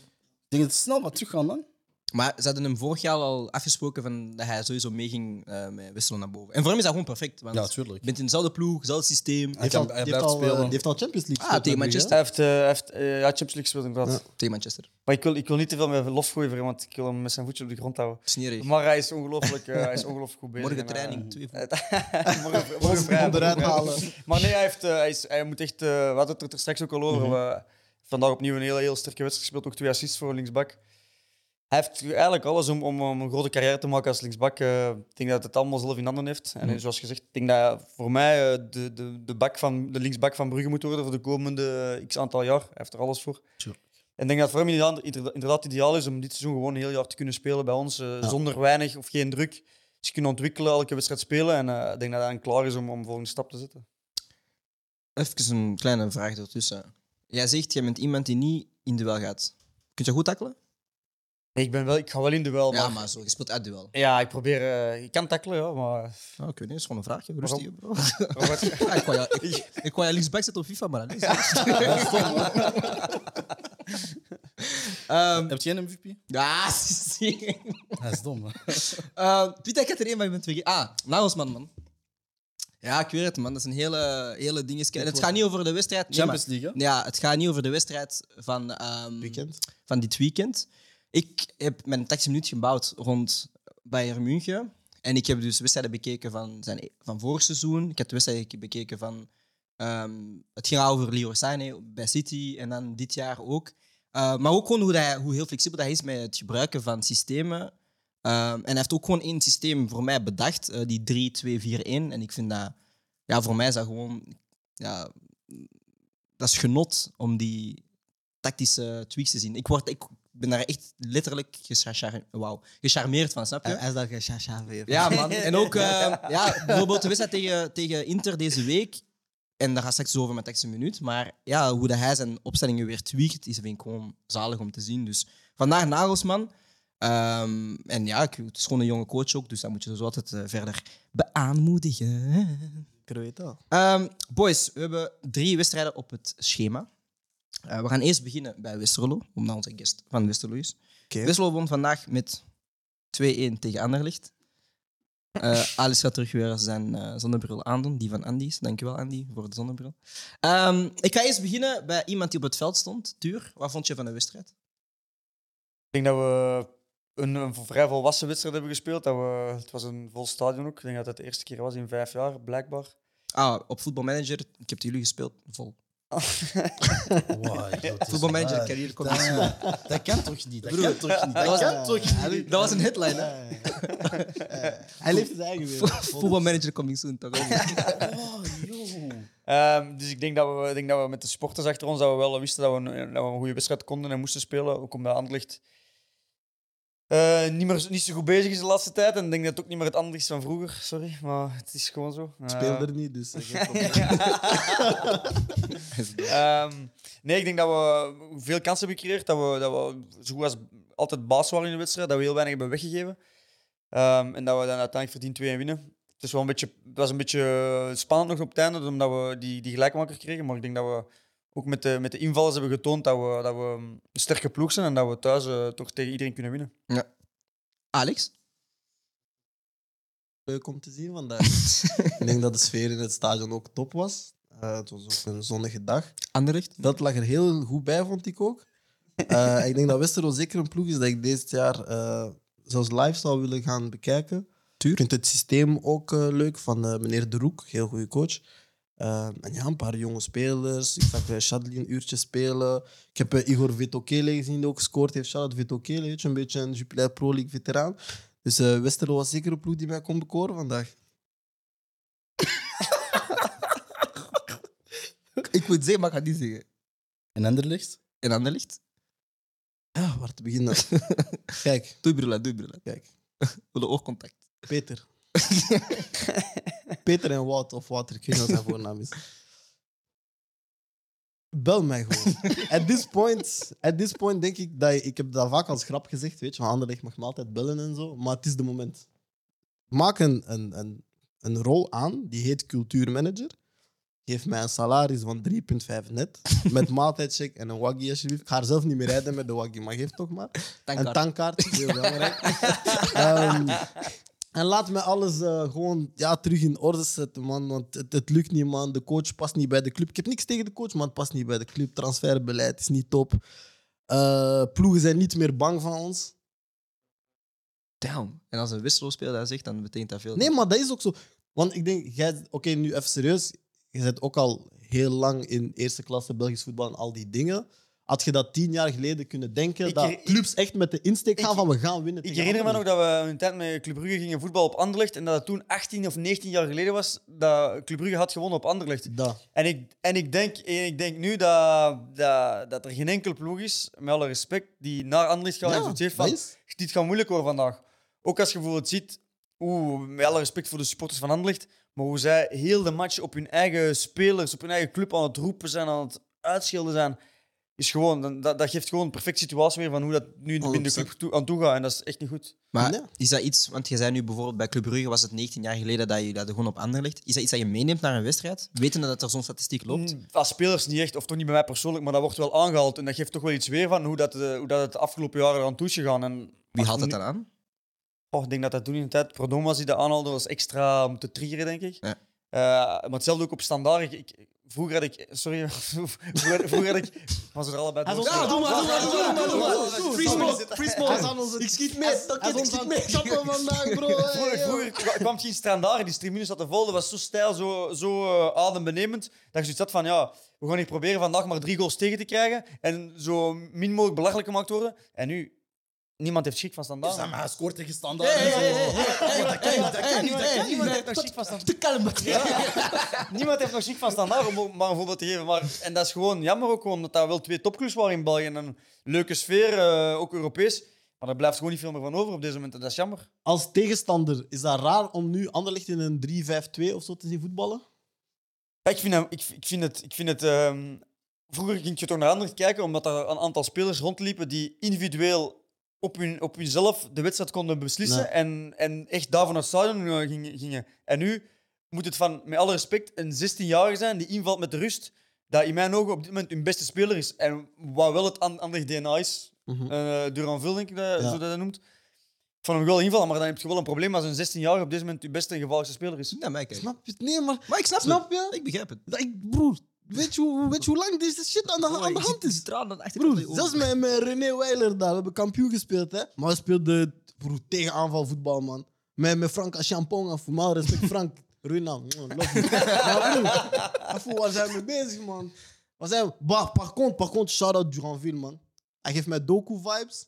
denk dat ze snel wat terug gaan, man. Maar ze hadden hem vorig jaar al afgesproken van dat hij sowieso meeging eh, met Westerlo naar boven. En voor hem is dat gewoon perfect, want Ja, je tuurlijk. bent in hetzelfde ploeg, hetzelfde systeem. Hij, Die kan, heeft hij al- die blijft heeft al, eh, spelen. Die heeft al Champions League Ah, gespeeld tegen met Brugge, Manchester. hè? Hij heeft, eh, hij heeft eh, ja, Champions League gespeeld inderdaad. Tegen Manchester. Maar ik wil, ik wil niet te veel met lof gooien voor hem, want ik wil hem met zijn voetje op de grond houden. Het is niet erg. Maar hij is ongelooflijk, eh, hij is ongelooflijk goed bezig. Morgen en, eh, training, twee voor. morgen- morgen vrij, Ons morgen onderuit vrij. halen. Maar nee, hij, heeft, eh, hij, is, hij moet echt. eh, we hadden het er- er straks ook al over. We- vandaag opnieuw een hele, heel sterke wedstrijd gespeeld. Ook twee assists voor een linksbak. Hij heeft eigenlijk alles om, om, om een grote carrière te maken als linksbak. Eh, ik denk dat hij het allemaal zelf in handen heeft. En eh, zoals gezegd, ik denk dat hij voor mij eh, de, de, de, bak van, de linksbak van Brugge moet worden voor de komende eh, x aantal jaar. Hij heeft er alles voor. Tuurlijk. En ik denk dat het voor hem inderdaad- inderdaad inderdaad ideaal is om dit seizoen gewoon een heel jaar te kunnen spelen bij ons. eh, Zonder weinig of geen druk. Ze kunnen ontwikkelen, elke wedstrijd spelen. En eh, ik denk dat hij dan klaar is om, om de volgende stap te zetten. Even een kleine vraag ertussen. Jij zegt, jij bent iemand die niet in duel gaat. Kunt je goed tackelen? Nee, Ik, ben wel, ik ga wel in duel, maar... Ja, Ja, maar zo, je speelt uit duel. ik probeer... eh, ik kan tackelen, ja, maar... Oh, ik weet niet, dat is gewoon een vraagje. Rustig, bro. maar wat- Ja, ik wou jou- ik- ik wou je linksback zetten op FIFA, maar alleen. Ehm, Heb jij een MVP? ja, zie. Hij is dom, man. Ehm, Pieter, ik had er één, maar je bent vergeten. Ah, Nagelsman, man. Ja, ik weet het, man. Dat is een hele, hele dingetje. En het gaat niet over de wedstrijd. nee, Champions League, hè? maar- ja, het gaat niet over de wedstrijd van, ehm, Weekend. van dit weekend. Ik heb mijn 80 minuten gebouwd rond Bayern München. En ik heb dus wedstrijden bekeken van, zijn, e- van vorig seizoen. Ik heb de wedstrijden bekeken van... ehm, het ging over Leroy Sané bij City en dan dit jaar ook. Eh, maar ook gewoon hoe, hij, hoe heel flexibel hij is met het gebruiken van systemen. Ehm, en hij heeft ook gewoon één systeem voor mij bedacht, eh, die 3-2-4-1. En ik vind dat, ja, voor mij is dat gewoon, ja, dat is genot om die tactische tweaks te zien. Ik, word, ik ben daar echt letterlijk geschar- wauw, gecharmeerd van, snap je? Hij is daar gechachaverd. Ja, man. En ook eh, ja, bijvoorbeeld de wedstrijd tegen, tegen Inter deze week. En daar gaat straks zo over met tekst een minuut. Maar ja, hoe dat hij zijn opstellingen weer tweakt, is vind ik gewoon zalig om te zien. Dus vandaar Nagelsman. Ehm, en ja, ik- het is gewoon een jonge coach ook, dus dat moet je dus altijd eh, verder beaanmoedigen. Croeta. Ehm, boys, we hebben drie wedstrijden op het schema. Eh, we gaan eerst beginnen bij Westerlo, omdat onze guest van Westerlo is. Oké. Westerlo won vandaag met 2-1 tegen Anderlicht. Eh Alice gaat terug weer zijn eh, zonnebril aandoen, die van Andy is. Dankjewel Andy voor de zonnebril. Ehm, ik ga eerst beginnen bij iemand die op het veld stond. Tuur, wat vond je van de wedstrijd? Ik denk dat we een, een vrij volwassen wedstrijd hebben gespeeld. Dat we, het was een vol stadion ook. Ik denk dat het de eerste keer was in vijf jaar, blijkbaar. Ah, op voetbalmanager. Ik heb jullie gespeeld. Vol. Wow, dat is Voetbalmanager, waar. carrière dat, dat kan toch niet? Dat Broer, kan toch niet? Dat was- kan toch niet? Dat was een headline, hè? Hij leeft het eigen weer. Voetbalmanager coming soon, toch? Oh, joh. Ehm, dus ik denk dat, we, ik denk dat we met de sporters achter ons dat we wel wisten dat we, een, dat we een goede wedstrijd konden en moesten spelen. Ook omdat Anderlecht eh, niet, meer, niet zo goed bezig is de laatste tijd. En ik denk dat het ook niet meer het Anderlecht is van vroeger. Sorry, maar het is gewoon zo. Eh, Speelde er niet, dus eh, geen probleem. Ehm, nee, ik denk dat we veel kansen hebben gecreëerd. Dat we, dat we zo goed als altijd baas waren in de wedstrijd. Dat we heel weinig hebben weggegeven. Ehm, en dat we dan uiteindelijk verdiend 2 winnen. Het, is wel een beetje, het was een beetje spannend nog op het einde, omdat we die, die gelijkmaker kregen. Maar ik denk dat we ook met de, met de invallers hebben getoond dat we, dat we een sterke ploeg zijn en dat we thuis eh, toch tegen iedereen kunnen winnen. Alex? leuk om te zien vandaag. ik denk dat de sfeer in het stadion ook top was. Eh, het was ook een zonnige dag. Anderlecht? Dat lag er heel goed bij, vond ik ook. Eh, ik denk dat Westerlo zeker een ploeg is dat ik dit jaar eh, zelfs live zou willen gaan bekijken. Ik vind het systeem ook eh, leuk van eh, meneer De Roek, heel goede coach. Eh, en ja, een paar jonge spelers. Ik zag uh, Shadley een uurtje spelen. Ik heb eh, Igor Vitokele gezien die ook gescoord heeft. Charlotte Vitokele, weet je, een beetje een Jupiler Pro League veteraan. Dus eh, Westerlo was zeker een ploeg die mij kon bekoren vandaag. Ik moet zeggen, maar ik ga het niet zeggen. En Anderlecht? En Anderlecht? Ja, Ah, waar te beginnen? Kijk, Doe brullen, doe brullen. Kijk. Wil de oogcontact. Peter. Peter en Wout of Wouter, ik weet niet wat zijn voornaam is. Bel mij gewoon. At this point, at this point denk ik dat ik heb dat vaak als grap gezegd, weet je, van Anderlecht mag me altijd bellen en zo, maar het is de moment. Maak een, een, een, een rol aan, die heet cultuurmanager. Geef mij een salaris van 3,5 net, met maaltijdcheck en een waggie alsjeblieft. Ik ga er zelf niet meer rijden met de waggie, maar geef toch maar. Dankbaar. Een tankkaart, heel belangrijk. Ehm, en laat me alles eh, gewoon ja, terug in orde zetten, man. Want het, het lukt niet, man. De coach past niet bij de club. Ik heb niks tegen de coach, maar het past niet bij de club. Transferbeleid is niet top. Eh, ploegen zijn niet meer bang van ons. Damn. En als een wissel speelt, dat zegt, dan betekent dat veel. Nee, maar dat is ook zo. Want ik denk, jij, oké, nu even serieus. Je zit ook al heel lang in eerste klasse Belgisch voetbal en al die dingen. Had je dat tien jaar geleden kunnen denken? Ik her- dat clubs echt met de insteek Ik- gaan van we gaan winnen. Ik tegen herinner me nog Anderlecht. dat we een tijd met Club Brugge gingen voetbal op Anderlecht en dat het toen 18 of 19 jaar geleden was dat Club Brugge had gewonnen op Anderlecht. Dat. En ik, en ik, denk, en ik denk nu dat, dat, dat er geen enkel ploeg is, met alle respect, die naar Anderlecht gaat en Ja, zoiets heeft dat van, is. dit gaat moeilijk worden vandaag. Ook als je bijvoorbeeld ziet, oeh, met alle respect voor de supporters van Anderlecht, maar hoe zij heel de match op hun eigen spelers, op hun eigen club aan het roepen zijn, aan het uitschelden zijn, is gewoon, dan- dat, dat geeft gewoon een perfect situatie weer van hoe dat nu in de- binnen de club toe, aan toe gaat. En dat is echt niet goed. Maar Nee. is dat iets, want je zei nu bijvoorbeeld bij Club Brugge was het 19 jaar geleden dat je dat gewoon op ander ligt. Is dat iets dat je meeneemt naar een wedstrijd, wetende dat er zo'n statistiek loopt? Mm, Als spelers niet echt, of toch niet bij mij persoonlijk, maar dat wordt wel aangehaald. En dat geeft toch wel iets weer van hoe dat, eh, hoe dat het de afgelopen jaren aan toe is gegaan. En Wie als haalt dat nu- dan aan? Oh, ik denk dat dat toen in de tijd Prodom was die dat aanhaalde, was extra om te triggeren, denk ik. Ja. Eh, maar hetzelfde ook op standaard. Ik, ik- vroeger had ik... Sorry, vroeger, vroeger had ik... Was er allebei door? Ja, doe maar, doe maar, doe maar, doe maar. Free smoke, free smoke. Ik schiet mee. Hij is ons aan het kappen vandaag, bro. Vroeger, vroeger kwa- kwam geen standaard, die dus tribunes zaten vol. Dat was zo stijl, zo, zo eh, adembenemend. Dat je zoiets had van, ja, we gaan hier proberen vandaag maar drie goals tegen te krijgen. En zo min mogelijk belachelijk gemaakt worden. En nu, niemand heeft schik van standaard. maar hij scoort tegen standaard. Dat kan niet, dat kan niet. dat kan niet. Niemand heeft nog schik van standaard. Te kalm. Niemand heeft nog ziek van standaard, om maar een voorbeeld te geven. Maar, en dat is gewoon jammer ook, gewoon, omdat daar wel twee topclubs waren in België. En een leuke sfeer, eh, ook Europees. Maar daar blijft gewoon niet veel meer van over op deze moment. En dat is jammer. Als tegenstander, is dat raar om nu Anderlecht in een 3-5-2 of zo te zien voetballen? Ja, ik, vind, hem- ik, ik vind het... Ik vind het ehm, vroeger ging je toch naar anderen kijken, omdat er een aantal spelers rondliepen die individueel op, hun, op hunzelf de wedstrijd konden beslissen. Ja. En, en echt daarvan naar het stadion eh, gingen, gingen. En nu moet het van, met alle respect, een 16-jarige zijn die invalt met de rust. Dat in mijn ogen op dit moment hun beste speler is. En wat wel het an- ander DNA is. Mhm. eh Duran Vil, denk ik, dat, Ja. zo dat hij noemt. Van hem wel invallen, maar dan heb je wel een probleem als een 16-jarige op dit moment je beste en gevaarlijkste speler is. Ja, maar kijk. Snap je het? Nee, maar... Maar ik snap het. Snap je? Ik begrijp het. Dat ik, broer, Weet je, hoe- weet je hoe lang deze shit aan de, aan de hand is? Traan aan de achterkant Broer, van je zelfs ogen. met, met René Weiler daar. We hebben kampioen gespeeld, hè. Maar we speelden broer, tegen aanvalvoetbal, man. Met, met Frank Champong af. Maar respect, Frank. Runa, mwah, love you. Maar broer, afvoer, waar zijn we mee bezig, man? Waar zijn we? Bah, par contre, par contre, shout-out Duranville, man. Hij geeft mij Doku-vibes.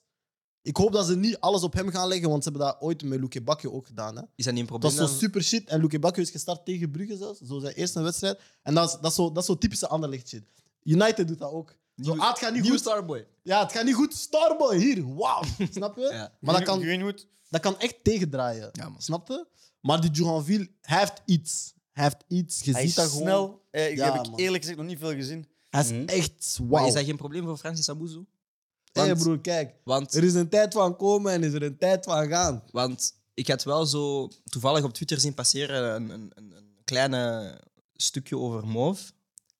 Ik hoop dat ze niet alles op hem gaan leggen, want ze hebben dat ooit met Luke Bakje ook gedaan, hè. Is dat niet een ehm, probleem? Dat is zo dan? super shit. En Luke Bakio is gestart tegen Brugge zelfs. Zo zijn eerste wedstrijd. En dat is, dat is, zo, dat is zo typische anderlicht shit. United doet dat ook. Zo, Nieuw- ah, het gaat niet Nieuwe goed. Starboy. Ja, het gaat niet goed. Starboy, hier. Wauw. Snap je? Ja. Maar dat kan, Greenwood. dat kan echt tegendraaien. Ja, man. Snap je? Maar die Duranville, hij heeft iets. Hij heeft iets. Je Hij ziet is dat gewoon. snel. Eh, ik Ja, heb ik man. eerlijk gezegd nog niet veel gezien. Hij is Mhm. echt Maar wauw. is dat geen probleem voor Francis Samuzo? Hé want- broer, kijk. Want Er is een tijd van komen en is er een tijd van gaan. Want ik had wel zo toevallig op Twitter zien passeren een, een, een, een kleine stukje over Move.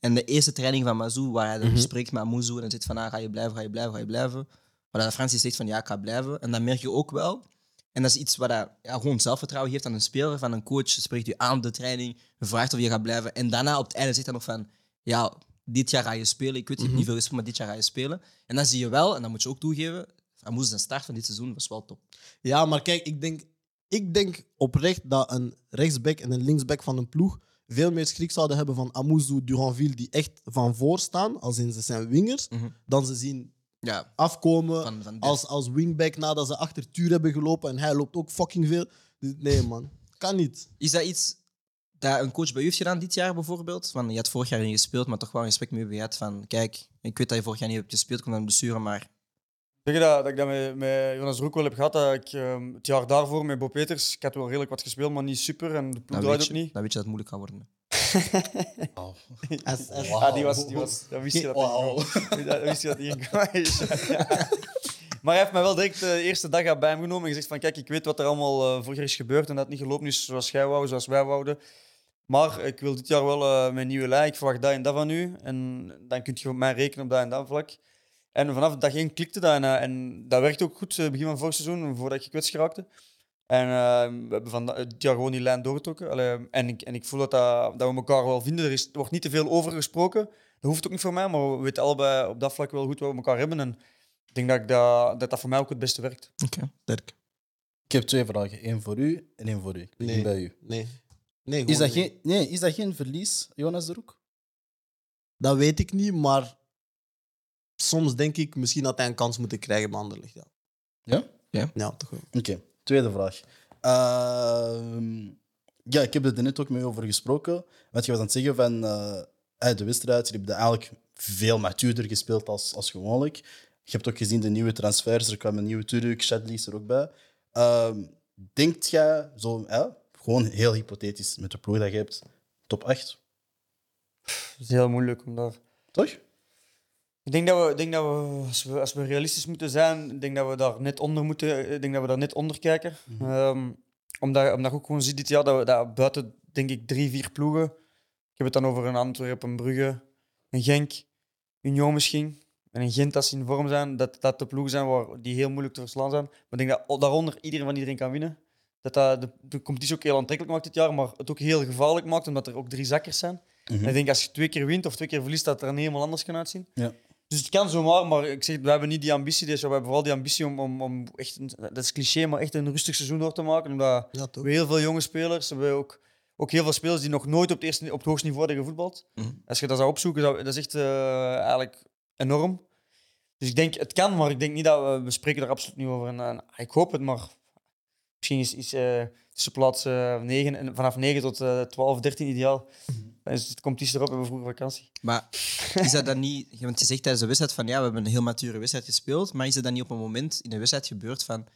En de eerste training van Mazou, waar hij dan Mhm. spreekt met Mouzou en dan zit van, ah, ga je blijven, ga je blijven, ga je blijven. Maar dat Francis zegt van, ja, ik ga blijven. En dat merk je ook wel. En dat is iets wat hij, ja, gewoon zelfvertrouwen geeft aan een speler, van een coach. Je Spreekt u aan op de training, je vraagt of je gaat blijven. En daarna op het einde zegt hij nog van, ja, dit jaar ga je spelen. Ik weet, je hebt niet veel gespeeld, maar dit jaar ga je spelen. En dan zie je wel, en dat moet je ook toegeven, Moezou zijn start van dit seizoen was wel top. Ja, maar kijk, ik denk, ik denk oprecht dat een rechtsback en een linksback van een ploeg veel meer schrik zouden hebben van Amouzou, Duranville, die echt van voor staan, als in ze zijn wingers, Mhm. dan ze zien Ja, afkomen van, van als, als wingback nadat ze achter Tuur hebben gelopen en hij loopt ook fucking veel. Dus nee, man. Kan niet. Is dat iets dat een coach bij u heeft gedaan dit jaar bijvoorbeeld? Want je had vorig jaar niet gespeeld, maar toch wel een gesprek met u gehad van kijk, ik weet dat je vorig jaar niet hebt gespeeld, komt aan een blessure, maar Zeg je dat, dat ik dat met, met Jonas Roek wel heb gehad? Dat ik, ehm, het jaar daarvoor met Bob Peters, ik had wel redelijk wat gespeeld, maar niet super. En de dan ploeg draait weet, ook je, niet. dan weet je dat het moeilijk gaat worden. Wauw. Hij is- hij is- Wauw. Ah, die was, die was, dan wist je dat hij Wauw. kwam. Dat wist je dat hij kwam. Ja. Maar hij heeft mij wel direct eh, de eerste dag bij hem genomen en gezegd van kijk, ik weet wat er allemaal eh, vorig jaar is gebeurd en dat het niet gelopen is zoals jij wou, zoals wij wouden. Maar ik wil dit jaar wel eh, mijn nieuwe lijn, ik verwacht dat en dat van u. En dan kun je op mij rekenen op dat en dat vlak. En vanaf dag één klikte dat en, eh, en dat werkte ook goed, eh, begin van vorig seizoen, voordat ik gekwetst geraakte. En eh, we hebben van dit jaar gewoon die lijn doorgetrokken. Allee, en, ik, en ik voel dat, eh, dat, dat we elkaar wel vinden. Er, is, er wordt niet te veel over gesproken. Dat hoeft ook niet voor mij, maar we weten allebei op dat vlak wel goed wat we elkaar hebben. En ik denk dat ik dat, dat, dat voor mij ook het beste werkt. Sterk. Ik heb twee vragen. één voor u en één voor u. Ik begin Nee. bij u. Nee. nee Is gewoon dat, nee. geen, nee, is dat geen verlies, Jonas de Roek? Dat weet ik niet, maar soms denk ik misschien dat hij een kans moet krijgen bij Anderlecht. Ja, Ja? ja toch wel. Oké, tweede vraag. Ehm, ja, ik heb er net ook mee over gesproken. Want je was aan het zeggen van eh, uit de wedstrijd, jullie hebben eigenlijk veel matuurder gespeeld als, als gewoonlijk. Je hebt ook gezien de nieuwe transfers, er kwam een nieuwe Turk, Shadley is er ook bij. Ehm, denkt jij, zo, hè, gewoon heel hypothetisch, met de ploeg dat je hebt, top 8, Het is heel moeilijk om daar... toch? Ik denk dat we, ik denk dat we, als we, als we realistisch moeten zijn, ik denk dat we daar net onder moeten, ik denk dat we daar net onder kijken. Ehm, omdat, omdat je ook gewoon ziet dit jaar dat we dat buiten, denk ik, drie, vier ploegen. Ik heb het dan over een Antwerpen, een Brugge, een Genk, Union misschien. En een Gent als ze in vorm zijn, dat, dat de ploegen zijn waar, die heel moeilijk te verslaan zijn. Maar ik denk dat daaronder iedereen van iedereen kan winnen. Dat, dat de, de competitie ook heel aantrekkelijk maakt dit jaar, maar het ook heel gevaarlijk maakt, omdat er ook drie zakkers zijn. Mhm. En ik denk als je twee keer wint of twee keer verliest, dat het er een helemaal anders kan uitzien. Ja. Dus het kan zomaar, maar ik zeg, we hebben niet die ambitie. Dus we hebben vooral die ambitie om, om, om echt, een, dat is cliché, maar echt een rustig seizoen door te maken. Omdat Ja, toch? we heel veel jonge spelers. We hebben ook, ook heel veel spelers die nog nooit op het, eerste, op het hoogste niveau hadden gevoetbald. Mhm. Als je dat zou opzoeken, zou, dat is echt eh, eigenlijk enorm. Dus ik denk, het kan, maar ik denk niet dat we, we spreken er absoluut niet over. En, en ah, ik hoop het, maar misschien is, is eh, tussen plaats eh 9 en vanaf 9 tot eh 12, 13 ideaal. Dan is het competitie erop en we vroegen vakantie. Maar is dat dan niet, want je zegt tijdens de wedstrijd van ja, we hebben een heel mature wedstrijd gespeeld, maar is dat dan niet op een moment in de wedstrijd gebeurd van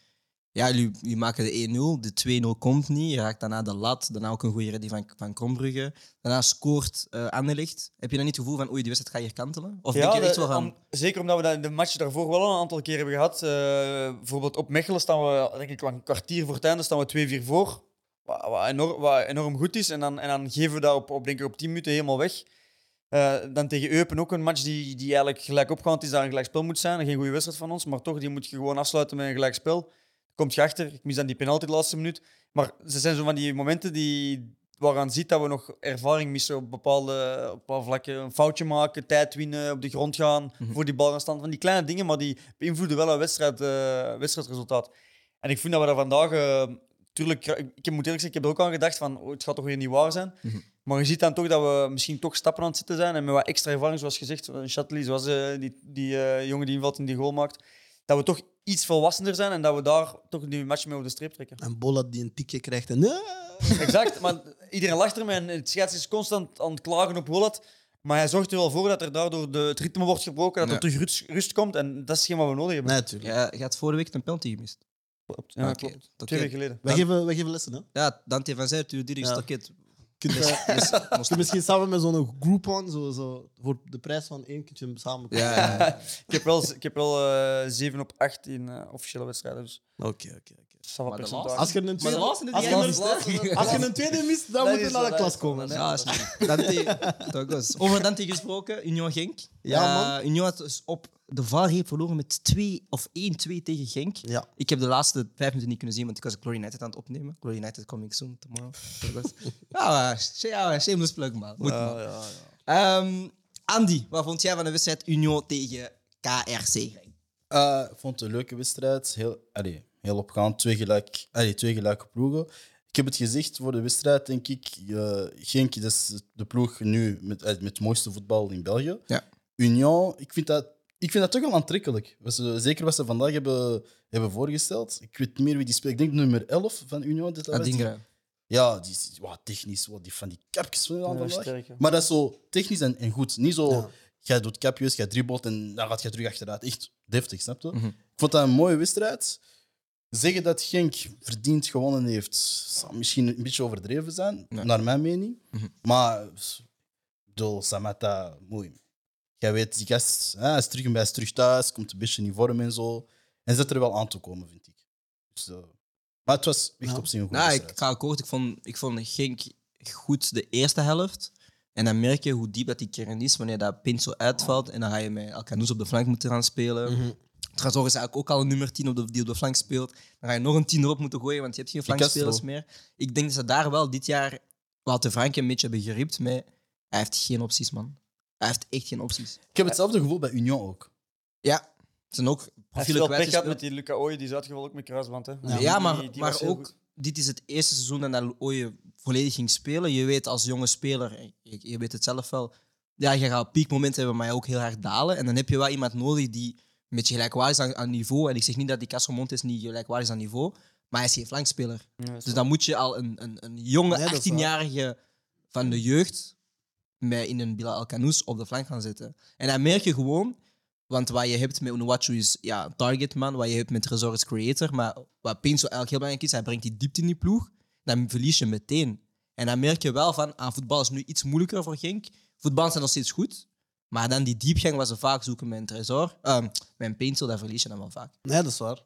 ja, jullie, jullie maken de 1-0, de 2-0 komt niet, je raakt daarna de lat, daarna ook een goede redding van, van Krombrugge, daarna scoort eh Anderlecht. Heb je dan niet het gevoel van oei, die wedstrijd gaat hier kantelen? Of denk je er dat- echt wel van... om- zeker omdat we dat in de match daarvoor wel al een aantal keer hebben gehad. Eh, bijvoorbeeld op Mechelen staan we, denk ik, wel een kwartier voor het einde staan we 2-4 voor. Wat, wat, enorm, wat enorm goed is. En dan, en dan geven we dat op, op, denk ik, op 10 minuten helemaal weg. Eh, dan tegen Eupen ook een match die, die eigenlijk gelijk opgaand is, dat een gelijkspel moet zijn. Geen goede wedstrijd van ons, maar toch, die moet je gewoon afsluiten met een gelijkspel. Komt je achter, ik mis dan die penalty de laatste minuut. Maar ze zijn zo van die momenten die, waaraan ziet dat we nog ervaring missen op bepaalde, op bepaalde vlakken. Een foutje maken, tijd winnen, op de grond gaan, Mhm. voor die bal gaan staan. Van die kleine dingen, maar die beïnvloeden wel een wedstrijd, eh, wedstrijdresultaat. En ik vind dat we daar vandaag... eh, tuurlijk, kra- ik ik moet eerlijk zeggen, ik heb er ook aan gedacht van oh, het gaat toch weer niet waar zijn. Mhm. Maar je ziet dan toch dat we misschien toch stappen aan het zitten zijn. En met wat extra ervaring, zoals gezegd, een Shatley, zoals eh, die, die eh, jongen die invalt en die goal maakt. Dat we toch iets volwassener zijn en dat we daar toch die match mee over de streep trekken. En Bolla die een tikje krijgt en... "Ah." Exact, maar iedereen lacht ermee en het scheids is constant aan het klagen op Willet. Maar hij zorgt er wel voor dat er daardoor de, het ritme wordt gebroken, dat Ja. er terug rust, rust komt. En dat is geen wat we nodig hebben. Nee, natuurlijk. Ja, je had vorige week een penalty gemist. Klopt. Ja, Ah, Oké, klopt. dat Twee kan. weken geleden. Wij, geven, wij geven lessen, hè. Ja, Dante van Zijt, uw direct, Ja. dat kind. Kunt, eh, Moest- kunt misschien samen met zo'n Groupon, zo, zo, voor de prijs van één, kun je hem samen kopen. Ja, ja, ja. Ik heb wel, ik heb wel eh 7 op 8 in eh, officiële wedstrijden. Dus Oké, oké, oké. dat is wel Maar de percentage. laatste- Als je een Maar de tweede, laatste als die je jij een- mist, hè? als je een tweede mist, dan Dat moet je is naar wel, de dat klas is wel, komen. dat hè. Ja, is niet. Dante, dat was. Over Dante gesproken, Union Genk. Ja, Eh, Union had dus op de valreep verloren met 2 of 1-2 tegen Genk. Ja. Ik heb de laatste vijf minuten niet kunnen zien, want ik was Glory United aan het opnemen. Glory United coming soon, tomorrow. ja, ja, shameless plug, man. Moet, man. Ja, ja, ja. Ehm, Andy, wat vond jij van de wedstrijd Union tegen KRC? Eh, ik vond het een leuke wedstrijd. Heel, allee, heel opgaand. Twee gelijk, allee, twee gelijke ploegen. Ik heb het gezegd voor de wedstrijd, denk ik. eh Genk dat is de ploeg nu met, eh, met het mooiste voetbal in België. Ja. Union, ik vind dat, ik vind dat toch wel aantrekkelijk. Wat ze, zeker wat ze vandaag hebben, hebben voorgesteld. Ik weet niet meer wie die speelt. Ik denk nummer 11 van Union. Dit dat was. Adingra. Ja, die is wow, technisch. Wow, die van die kapjes van Ja, vandaag. sterk, ja. Maar dat is zo technisch en, en goed. Niet zo, Ja. jij doet kapjes, jij dribbelt en dan gaat je terug achteruit. Echt deftig, snap je? Mhm. Ik vond dat een mooie wedstrijd. Zeggen dat Genk verdiend gewonnen heeft, zou misschien een beetje overdreven zijn, Ja. naar mijn mening. Mhm. Maar, s- ik bedoel, Samata, mooi. Jij weet, die gast hè, hij is, terug, hij is terug thuis, komt een beetje in vorm en zo. En zit er wel aan te komen, vind ik. Dus, eh, maar het was echt Ja. op zich een goede Nou, ik wedstrijd. ga akkoord. Ik vond, ik vond Genk goed de eerste helft. En dan merk je hoe diep dat die kern is wanneer dat Pinto uitvalt. En dan ga je met Alcanoes op de flank moeten gaan spelen. Mhm. Trazor is eigenlijk ook al een nummer 10 op de, die op de flank speelt. Dan ga je nog een 10 erop moeten gooien, want je hebt geen Castro. flankspelers meer. Ik denk dat ze daar wel dit jaar Wouter Frank een beetje hebben geriept. Maar hij heeft geen opties, man. Hij heeft echt geen opties. Ik heb hetzelfde gevoel bij Union ook. Ja, het zijn ook Hij heeft wel profielen pech gehad kwijtgespeeld. met die Luca Ooyen, die is uitgevallen ook met kruisband. Hè. Ja, Die- maar, die was maar heel ook goed. dit is het eerste seizoen dat dat Ooye volledig ging spelen. Je weet als jonge speler, eh, je, je weet het zelf wel, ja, je gaat piekmomenten hebben, maar ook heel hard dalen. En dan heb je wel iemand nodig die een beetje gelijkwaardig is aan, aan niveau. En ik zeg niet dat die Castro Montes niet gelijkwaardig is aan niveau, maar hij is geen flankspeler. Ja, is Dus dan moet je al een, een, een jonge Nee, dat is waar. 18-jarige van de jeugd met in een Bilal Alcanoes op de flank gaan zetten. En dan merk je gewoon, want wat je hebt met Onuwachu is ja, een targetman, wat je hebt met Trezor is creator, maar wat Pinso eigenlijk heel belangrijk is, hij brengt die diepte in die ploeg, dan verlies je meteen. En dan merk je wel van, ah, voetbal is nu iets moeilijker voor Genk. Voetbal zijn nog steeds goed, maar dan die diepgang was ze vaak zoeken met een Trezor, ehm, met een Pinso, dat verlies je dan wel vaak. Nee, dat is waar.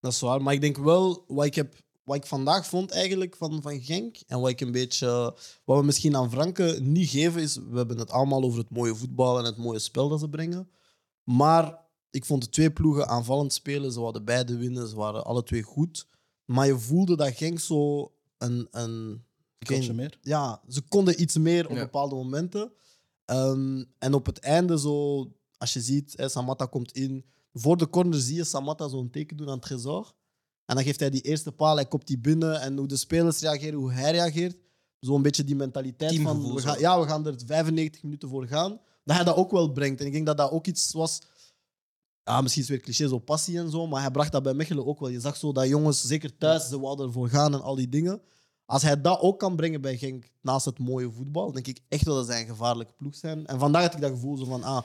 Dat is waar. Maar ik denk wel, wat ik, heb, wat ik vandaag vond eigenlijk van, van Genk, en wat ik een beetje, wat we misschien aan Franke niet geven, is, we hebben het allemaal over het mooie voetbal en het mooie spel dat ze brengen. Maar ik vond de twee ploegen aanvallend spelen. Ze hadden beide winnen, ze waren alle twee goed. Maar je voelde dat Genk zo een... een Coach meer. ja, ze konden iets meer op Ja. bepaalde momenten. Ehm, en op het einde, zo, als je ziet, hè, Samatta komt in. Voor de corner zie je Samatta zo'n teken doen aan Trezor. En dan geeft hij die eerste paal, hij kopt die binnen. En hoe de spelers reageren, hoe hij reageert. Zo'n beetje die mentaliteit van, Teamgevoel we zo. gaan, ja, we gaan er 95 minuten voor gaan. Dat hij dat ook wel brengt. En ik denk dat dat ook iets was... Ja, misschien is het weer cliché, zo passie en zo. Maar hij bracht dat bij Mechelen ook wel. Je zag zo dat jongens, zeker thuis, ze wilden ervoor gaan en al die dingen. Als hij dat ook kan brengen bij Genk, naast het mooie voetbal, denk ik echt wel dat zij een gevaarlijke ploeg zijn. En vandaag had ik dat gevoel zo van, ah,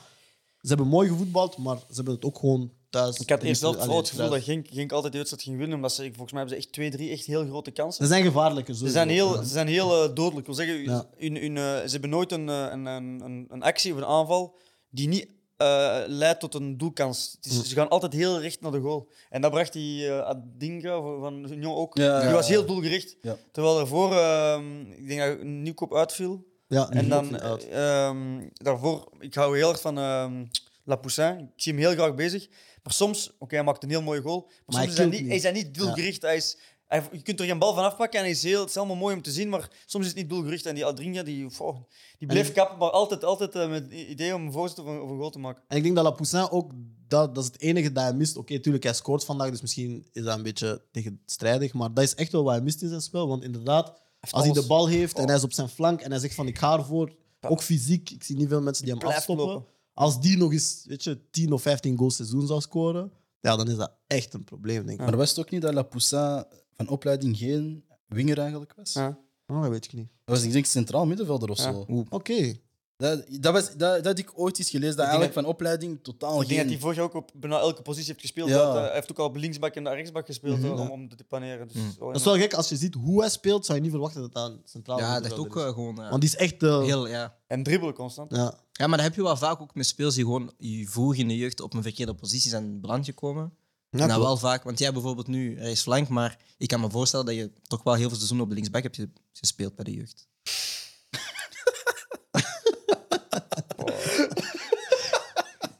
ze hebben mooi gevoetbald, maar ze hebben het ook gewoon thuis. Ik had eerst wel Allee, vooral het gevoel dat thuis. Genk, Genk altijd de wedstrijd ging winnen. Omdat ze, volgens mij hebben ze echt 2-3 echt heel grote kansen. Ze zijn gevaarlijker. Ze sowieso. zijn heel, Ja. ze zijn heel eh, dodelijk. Ik wil zeggen, Ja. hun, hun, eh, ze hebben nooit een, eh, een, een, een- een actie of een aanval die niet eh, leidt tot een doelkans. Het is- Mm. Hm. Ze gaan altijd heel recht naar de goal. En dat bracht die eh, Adinga van van Union ook. Ja, die ja, was ja. heel doelgericht. Ja. Terwijl daarvoor, ehm, ik denk dat Nieuwkoop uitviel. Ja, En dan heel uit. eh, ehm, daarvoor, ik hou heel erg van ehm La Poussin. Ik zie hem heel graag bezig. Maar soms, oké, hij maakt een heel mooie goal. Maar, Maar soms is hij hij kilt niet, hij niet. is hij niet doelgericht. Hij, is, Hij- Je kunt er geen bal van afpakken en hij is heel, het is allemaal mooi om te zien, maar soms is het niet doelgericht. En die Aldrinja, die, oh, die bleef kappen, maar altijd, altijd eh, met het idee om een voorzet of een, of een goal te maken. En ik denk dat Lapoussin ook, dat, dat is het enige dat hij mist. Oké, tuurlijk, hij scoort vandaag, dus misschien is dat een beetje tegenstrijdig. Maar dat is echt wel wat hij mist in zijn spel. Want inderdaad, als hij alles. de bal heeft en hij is op zijn flank en hij zegt van ik ga ervoor, ook fysiek, ik zie niet veel mensen die hem Blijft afstoppen. lopen. Als die nog eens weet je, 10 of 15 goals seizoen zou scoren, ja, dan is dat echt een probleem, denk ik. Maar was het ook niet dat Lapoussin van opleiding geen winger eigenlijk was? Ja. Oh, dat weet ik niet. Dat was ik denk centraal middenvelder of Ja. zo. Oké. Dat, dat, was, dat, dat had ik ooit eens gelezen, dat denk eigenlijk van opleiding totaal Oh, Ik denk dat hij geen... vorig jaar ook op bijna elke positie heeft gespeeld. Ja. Dat, eh, hij heeft ook al op linksbak en rechtsbak gespeeld eh, Mhm. om, om te paneren. Dus, Mhm. oh, ja. Dat is wel gek, als je ziet hoe hij speelt, zou je niet verwachten dat dat een centraal Ja, dat middenvelder ook is. eh, gewoon... eh, Want die is echt... eh, heel, ja. En dribbelen constant. ja. ja, maar dat heb je wel vaak ook met spelers die gewoon je vroeg in de jeugd op een verkeerde positie zijn beland gekomen. Ja, Ja, klopt. nou, wel vaak. Want jij bijvoorbeeld nu rechts flank, maar ik kan me voorstellen dat je toch wel heel veel seizoenen op de linksback hebt ge- gespeeld bij de jeugd.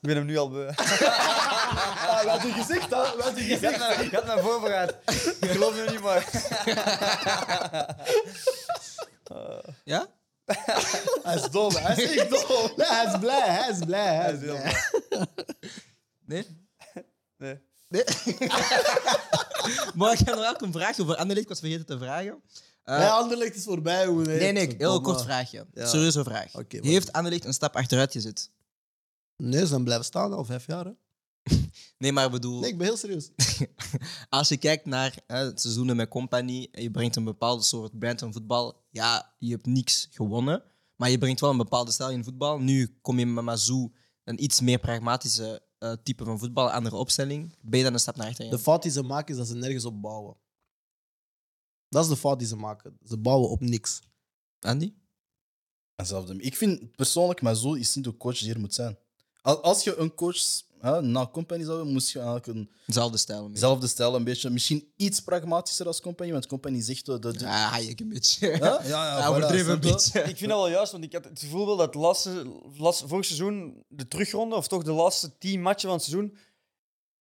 Ik ben hem nu al beu. wat had je gezegd, hè? Wat had je Je had mij- je had mij voorbereid. Ik geloof je niet, maar... Ja? Hij is dom, hij is echt dom. Nee, hij is blij, hij is blij. Hij is blij. Nee? Nee. Maar ik heb nog ook een vraag over Anderlecht. Ik was vergeten te vragen. Eh, Nee, Anderlecht is voorbij. Hoe nee, nee, heel kort vraagje. Ja. Serieuze vraag. Oké, maar- Heeft Anderlecht een stap achteruit gezet? Nee, ze zijn blijven staan al vijf jaar. Hè? Nee, maar ik bedoel, Nee, ik ben heel serieus. als je kijkt naar hè, het seizoenen met Company, en je brengt een bepaalde soort brand van voetbal. Ja, je hebt niks gewonnen, maar je brengt wel een bepaalde stijl in voetbal. Nu kom je met Mazou een iets meer pragmatische eh, type van voetbal, andere opstelling. Ben je dan een stap naar achteren? De fout die ze maken is dat ze nergens op bouwen. Dat is de fout die ze maken. Ze bouwen op niks. Andy? Hetzelfde. Ik vind persoonlijk, maar zo is niet de coach die er moet zijn. Al- Als je een coach hè, na company zou hebben, moest je eigenlijk Hetzelfde eenzelfde stijl. een beetje. stijl, een beetje, misschien iets pragmatischer als company, want company zegt de. de, de- Ja, ik een beetje. Hè? ja, ja, Ja, voilà, overdreven een snap je? beetje. Ik vind dat wel juist, want ik had het gevoel wel dat laatste, laatste, vorig seizoen, de terugronde, of toch de laatste tien matchen van het seizoen,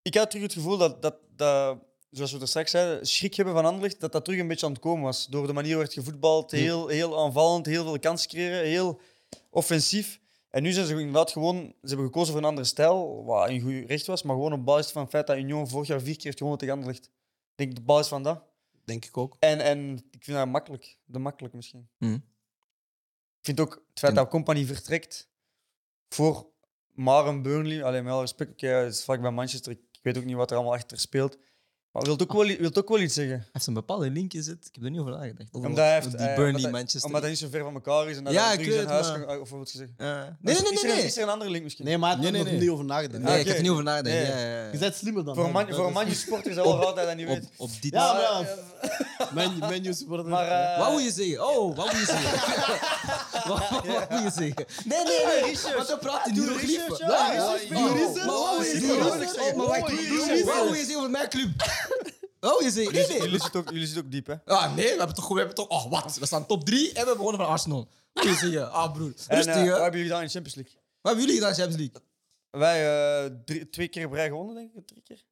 ik had terug het gevoel dat, dat, dat zoals we er straks zeiden, schrik hebben van Anderlecht, dat dat terug een beetje aan het komen was. Door de manier waarop werd gevoetbald, heel, heel aanvallend, heel veel kansen creëren, heel offensief. En nu zijn ze inderdaad gewoon, ze hebben gekozen voor een andere stijl, wat een goed recht was, maar gewoon op basis van het feit dat Union vorig jaar vier keer heeft gewonnen tegen Anderlecht. Ik denk op basis van dat. Denk ik ook. En, en ik vind dat makkelijk. De makkelijk misschien. Mhm. Ik vind ook het feit dat Company vertrekt voor maar een Burnley. Alleen met alle respect, oké, hij is vaak bij Manchester. Ik weet ook niet wat er allemaal achter speelt. Maar wil Ah. ook, wel, wilt ook wel iets zeggen. Hij heeft een bepaalde link in zit. Ik heb er niet over nagedacht. Over Omdat hij heeft, die eh, Burnley, omdat hij- Manchester. Omdat hij niet zo ver van elkaar is en dat Ja, hij ik terug weet is aan het, huis maar- gegaan. Of wat gezegd. Eh, nee, nee, is, nee, er, nee. is er een andere link misschien? Nee, maar hij Nee, heeft nee, er nog nee. niet over nagedacht. Nee, ik Ah, oké. heb er niet over nagedacht. Nee. Ja, ja, ja. Je bent slimmer dan Voor een hem, man, hè. voor een Dat manje supporter is dat wel raar dat hij dat niet Op, weet. op dit Ja, moment. maar ja. eh, is- Mijn, mijn nieuwe supporter. Maar, eh, Wat wil je zeggen? Oh, wat wil je zeggen? wat, wat wil je zeggen? Nee, nee, nee. Want dan praat hij nu Doe nog liever. research, Ja, ja. Ja, ja. research, Maar- doe research. maar wat wil je Doe zeggen? research. Oh, maar wat- Doe doe research. research. Wat wil je zeggen over mijn club? Wat wil je zeggen? Nee, jullie, nee. jullie zitten ook, jullie zitten ook diep, hè? Ah, nee, we hebben toch... We hebben toch oh, wat? We staan top 3 en we hebben gewonnen van Arsenal. Wat wil je zeggen? Ah, broer. En Rustig, eh, hè. wat Wat hebben jullie gedaan in de Champions League? hebben jullie gedaan, in Champions League? Wij eh, drie- twee keer op rij gewonnen, denk ik. Drie keer.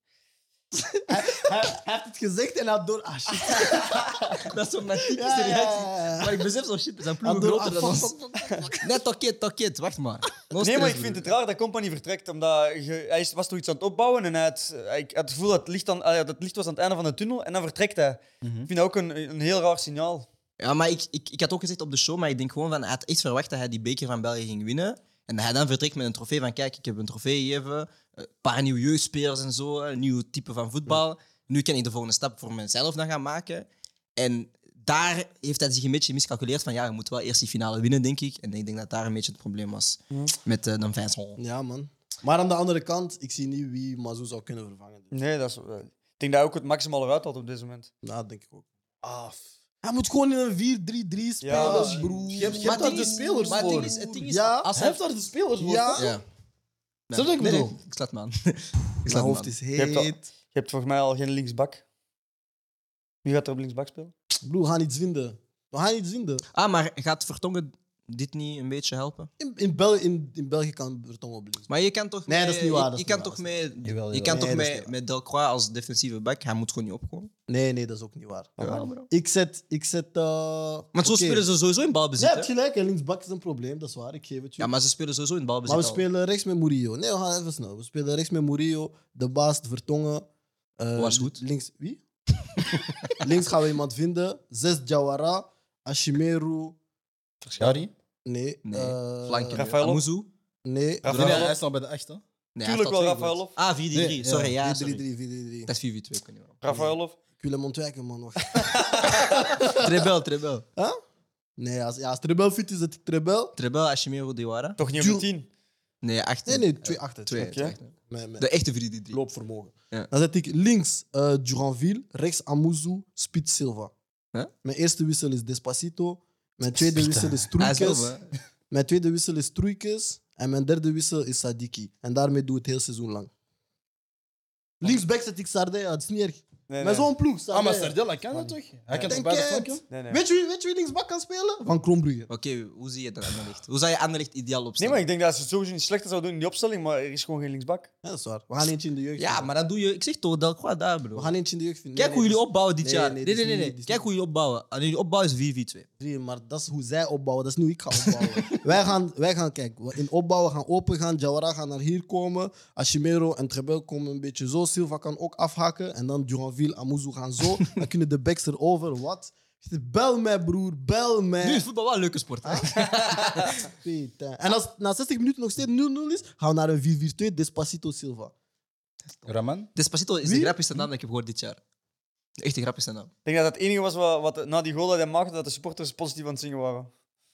Hij, hij heeft het gezegd en hij had door. Ah, shit. Dat is zo mijn typische Ja, ja, ja, reactie. ja. Maar ik besef zo'n shit, zijn Hij had ploegen door. groter Ah, dan ons. fuck, fuck, fuck, fuck. Nee, tokkit, tokkit, wacht maar. No Nee, stress, maar ik broer. vind het raar dat Company vertrekt, omdat je- hij is- was toch iets aan het opbouwen en hij had, hij had het gevoel dat het, licht aan, ah ja, dat het licht was aan het einde van de tunnel en dan vertrekt hij. Ik vind dat ook een, een heel raar signaal. Ja, maar ik, ik, ik had ook gezegd op de show, maar ik denk gewoon van, hij had echt verwacht dat hij die beker van België ging winnen. En dat hij dan vertrekt met een trofee van, kijk, ik heb een trofee gegeven, Eh, een paar nieuwe jeugdspelers en zo, eh, een nieuw type van voetbal. Nu kan ik de volgende stap voor mezelf dan gaan maken. En daar heeft hij zich een beetje miscalculeerd van, ja, je moet wel eerst die finale winnen, denk ik. En ik denk dat daar een beetje het probleem was met eh, de Vincent. Ja, man. Maar aan de andere kant, ik zie niet wie Mazou zou kunnen vervangen. Nee, dat is, eh, ik denk dat hij ook het maximaal eruit had op dit moment. Nou, dat denk ik ook. Af. Hij moet gewoon in een 4-3-3 spelen, Ja, broer. Ah, Je hebt, je Maar het hebt daar ding de is- spelers maar het voor. ding is- het ding is, Ja, als Hij hij... heeft daar de spelers voor. Ja. Ja. Snap je wat ik Nee, nee, bedoel? ik slaat me aan. ik slaat Mijn me hoofd aan. is hebt al- heet. Je hebt volgens mij al geen linksbak. Wie gaat er op linksbak spelen? Broer, we gaan iets vinden. We gaan iets vinden. Ah, maar gaat Vertongen dit niet een beetje helpen? In, in, Bel in, in België kan Breton wel blind. Maar je kan toch Nee, mee- dat is niet waar, je- dat Je, is kan niet toch waar, mee, Jawel, je kan Nee, toch dat is niet mee waar. met Delcroix als defensieve back. Hij moet gewoon niet opkomen. Nee, nee, dat is ook niet waar. Jawel, bro. Ik zet. Ik zet eh, Want zo oké. spelen ze sowieso in Jij balbezit. hebt hè? gelijk, hè, linksbak is een probleem, dat is waar, ik geef het je. ja, maar ze spelen sowieso in balbezit. Maar we al. spelen rechts met Murillo. Nee, we gaan even snel. We spelen rechts met Murillo, De Baas, De Vertongen. eh, Was goed. Links, wie? links gaan we iemand vinden. Zes Jawara, Ashimeru. Schari? Nee. Nee, eh, Flanken. Rafaelov? Amuzu? Nee. Rafael- Nee, Rafael- hij staat bij de echte. Nee, Tuurlijk hij wel, staat twee Rafaelov. goed. Ah, 4-3-3. Nee, ja, sorry, ja. sorry. 3-3-3-3-3. Dat is 4-4-2. kun je wel. Rafaelov. Ik wil hem ontwijken, man. Wacht. Trebel, Trebel. Nee, als, ja, als Trebel fit is, zet ik Trebel. Trebel, Ashimiro, Diwara. Toch niet op Tuur- de 10? Nee, 18. Nee, nee, twee achter. Eh, Twee, Twee. twee. Mijn- mijn De echte 4-3-3. Loopvermogen. Ja. Dan zet ik links eh Duranville, rechts Amuzu, Spit Silva. Ja. Mijn eerste wissel is Despacito. Mijn tweede wissel is Hij is Troekes. wel, hè. Mijn tweede wissel is Troeikes en mijn derde wissel is Sadiki. En daarmee doe ik het heel seizoen lang. Linksback zet ik Sardella, dat is niet erg. Nee, Met nee. zo'n ploeg, Ah, maar Sardella. Sardella kan dat toch? Hij kan toch Denk bij de het. flanken? Nee, nee. weet, je, wie- weet je wie linksback kan spelen? Van Kroonbrugge. Oké, hoe zie je dat Anderlicht? Hoe zou je Anderlicht ideaal Nee, opstellen? maar ik denk dat ze het sowieso niet slechter zou doen in die opstelling, maar er is gewoon geen linksbak. Ja, dat is waar. We gaan eentje in de jeugd. Ja, vinden. maar dat doe je... Ik zeg toch, Delcroix daar, bro. We gaan eentje in de jeugd vinden. Kijk hoe jullie opbouwen dit nee, dus- jaar. nee, Nee, dit nee, is nee. niet- nee. dit is Kijk niet. hoe jullie opbouwen. En jullie opbouw is 4-4-2. opbouwen. Maar dat is hoe zij opbouwen, dat is niet hoe ik ga opbouwen. wij, gaan, wij gaan, kijk, we- in opbouwen gaan open gaan. Jawara gaan naar hier komen. Ashimero en Trebel komen een beetje zo. Silva kan ook afhakken. En dan Duranville, Amuzu gaan zo. dan kunnen de backs erover. Wat? Bel mij, broer. Bel mij. Nu is voetbal wel een leuke sport. hè? Ah. Putain. En als het na 60 minuten nog steeds 0-0 is, gaan we naar een 4-4-2 Despacito Silva. Raman? Despacito is de Wie? grappigste naam die ik heb gehoord dit jaar. De echte grappigste naam. Ik denk dat dat het enige was wat, wat na die goal dat hij maakte, dat de supporters positief aan het zingen waren. En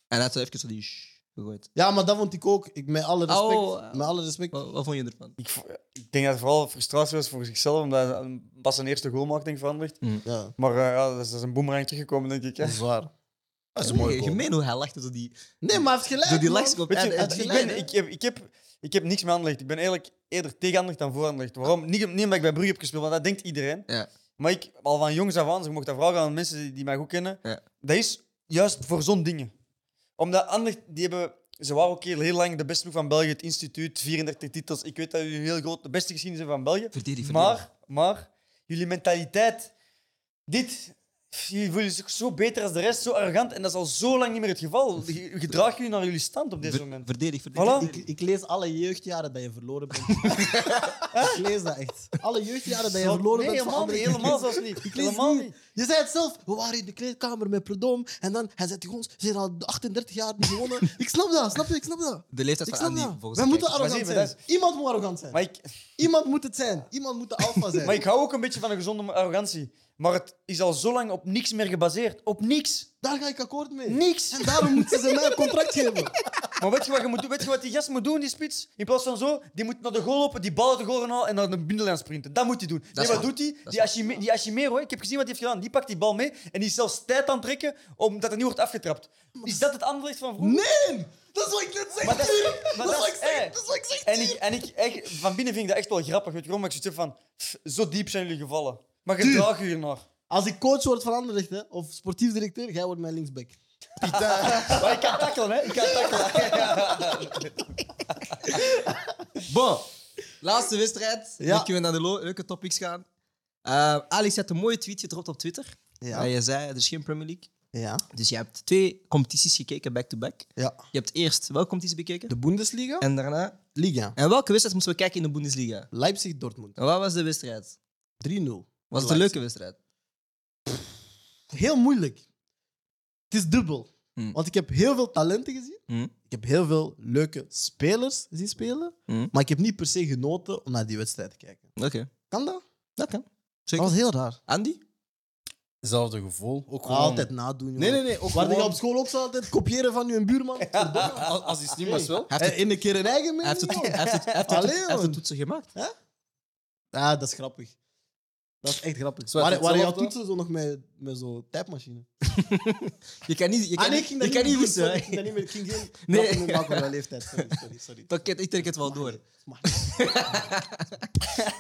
hij had zo even zo die shh gegooid. Ja, maar dat vond ik ook. Ik, met alle respect. Oh, eh. met alle respect. Wat, wat vond je ervan? Ik, vo- ik denk dat het vooral frustratie was voor zichzelf, omdat hij een- pas zijn eerste goal maakte, denk ik, van Anderlecht. Ja, Maar eh, ja, dat is, dat is een boemerang teruggekomen, denk ik. Hè. dat is waar. Dat is een Nee, mooie goal. Gemeen hoe hij lachte. Zo die, Nee, maar hij heeft gelijk. zo die man. lachskop. Weet je, En- en- ik, ben, ik, heb, ik, heb, ik heb niks met Anderlecht. Ik ben eigenlijk eerder tegen Anderlecht dan voor Anderlecht. Waarom? Niet, niet omdat ik bij Brugge heb gespeeld, want dat denkt iedereen. Ja. Maar ik, al van jongs af aan, ze mocht dat vragen aan mensen die, die mij goed kennen. Ja. Dat is juist voor zo'n dingen. Omdat Anderlecht, die hebben... Ze waren ook heel, heel lang de beste ploeg van België. Het instituut, 34 titels. Ik weet dat jullie heel groot, de beste geschiedenis hebben van België. Verdedig, verdedig. Maar, maar, jullie mentaliteit, dit, pff, jullie voelen zich zo beter als de rest, zo arrogant. En dat is al zo lang niet meer het geval. Je gedraag jullie naar jullie stand op deze Ver- moment. verdedig, verdedig. Voilà. Ik, ik lees alle jeugdjaren dat je verloren bent. ik lees dat echt. Alle jeugdjaren dat je Zo- verloren nee, bent. van helemaal andere niet. Helemaal jeugd. zelfs niet. Ik lees Helemaal niet. niet. Je zei het zelf. We waren in de kleedkamer met Predom. En dan, hij zei tegen ons, ze zijn al 38 jaar niet gewonnen. ik snap dat, snap je? Ik snap dat. De leeftijd Ik van snap Andy, dat. volgens Wij de moeten kijkers. Maar zie arrogant je, zijn. maar Iemand moet arrogant zijn. Maar ik, Iemand moet het zijn. Iemand moet de alfa zijn. maar ik hou ook een beetje van een gezonde arrogantie. Maar het is al zo lang op niks meer gebaseerd. Op niks. Daar ga ik akkoord mee. Niks. En daarom moeten ze mij een contract geven. Maar weet je wat, je moet, doen? weet je wat die gast moet doen, die spits? In plaats van zo, die moet naar de goal lopen, die bal uit de goal halen en naar de binnenlijn sprinten. Dat moet hij doen. Nee, is waar. wat doet hij? is Die, Ashime, die Ashimero, hè, ik heb gezien wat hij heeft gedaan. Die pakt die bal mee en die is zelfs tijd aan het trekken omdat er niet wordt afgetrapt. Is dat het anderlicht van vroeger? Nee! Dat is wat ik net zeg, Maar dat is- Tuur. maar dat is dat wat is- ik zeg. eh. Dat is wat ik zeg, En Tuur. ik, en ik echt, van binnen vind ik dat echt wel grappig. Weet je waarom? Maar ik zit van, pff, zo diep zijn jullie gevallen. Maar gedraag je hiernaar. Als ik coach word van Anderlecht, hè, of sportief directeur, jij wordt mijn linksback. Maar ik kan tackelen, hè? Ik kan tackelen. Bon, laatste wedstrijd. Ja. Dan kunnen we naar de lo- leuke topics gaan. Eh, Alex had een mooie tweet gedropt op Twitter. Ja. Dat je zei, er is geen Premier League. Ja. Dus je hebt twee competities gekeken, back-to-back. ja. Je hebt eerst welke competitie bekeken? De Bundesliga? En daarna... Liga. En welke wedstrijd moesten we kijken in de Bundesliga? Leipzig-Dortmund. 3-0. En wat was de wedstrijd? Was het Leipzig. een leuke wedstrijd? Heel moeilijk. Het is dubbel. Hmm. Want ik heb heel veel talenten gezien. Hm? Ik heb heel veel leuke spelers zien spelen. Hmm. Maar ik heb niet per se genoten om naar die wedstrijd te kijken. Oké, Kan dat? dat kan. Dat Zeker. was heel raar. Andy? Hetzelfde gevoel. Ook gewoon... Ah, Altijd nadoen, jongen. Nee, nee, nee. Ook Waar je gewoon... op school ook zo altijd kopiëren van je buurman? Verdomme. Als- Als iets niet was wel. Hij heeft En het- in een keer een eigen hij heeft het- mening, hij joh. heeft het- hij heeft Allee, het- hij heeft man. het toetsen gemaakt. Ja, Ah, dat is grappig. Dat is echt grappig. Zo, het Waar, waren jouw Dus hetzelfde? toetsen zo nog met, met zo'n typemachine? Je kan niet, je Ah, kan nee, niet, je kan niet doen, sorry. wissen. Ik ging dat niet meer- ik ging geen Nee. grappen meer maken op mijn leeftijd. Sorry, sorry, sorry. Ik trek het wel door. Mag niet.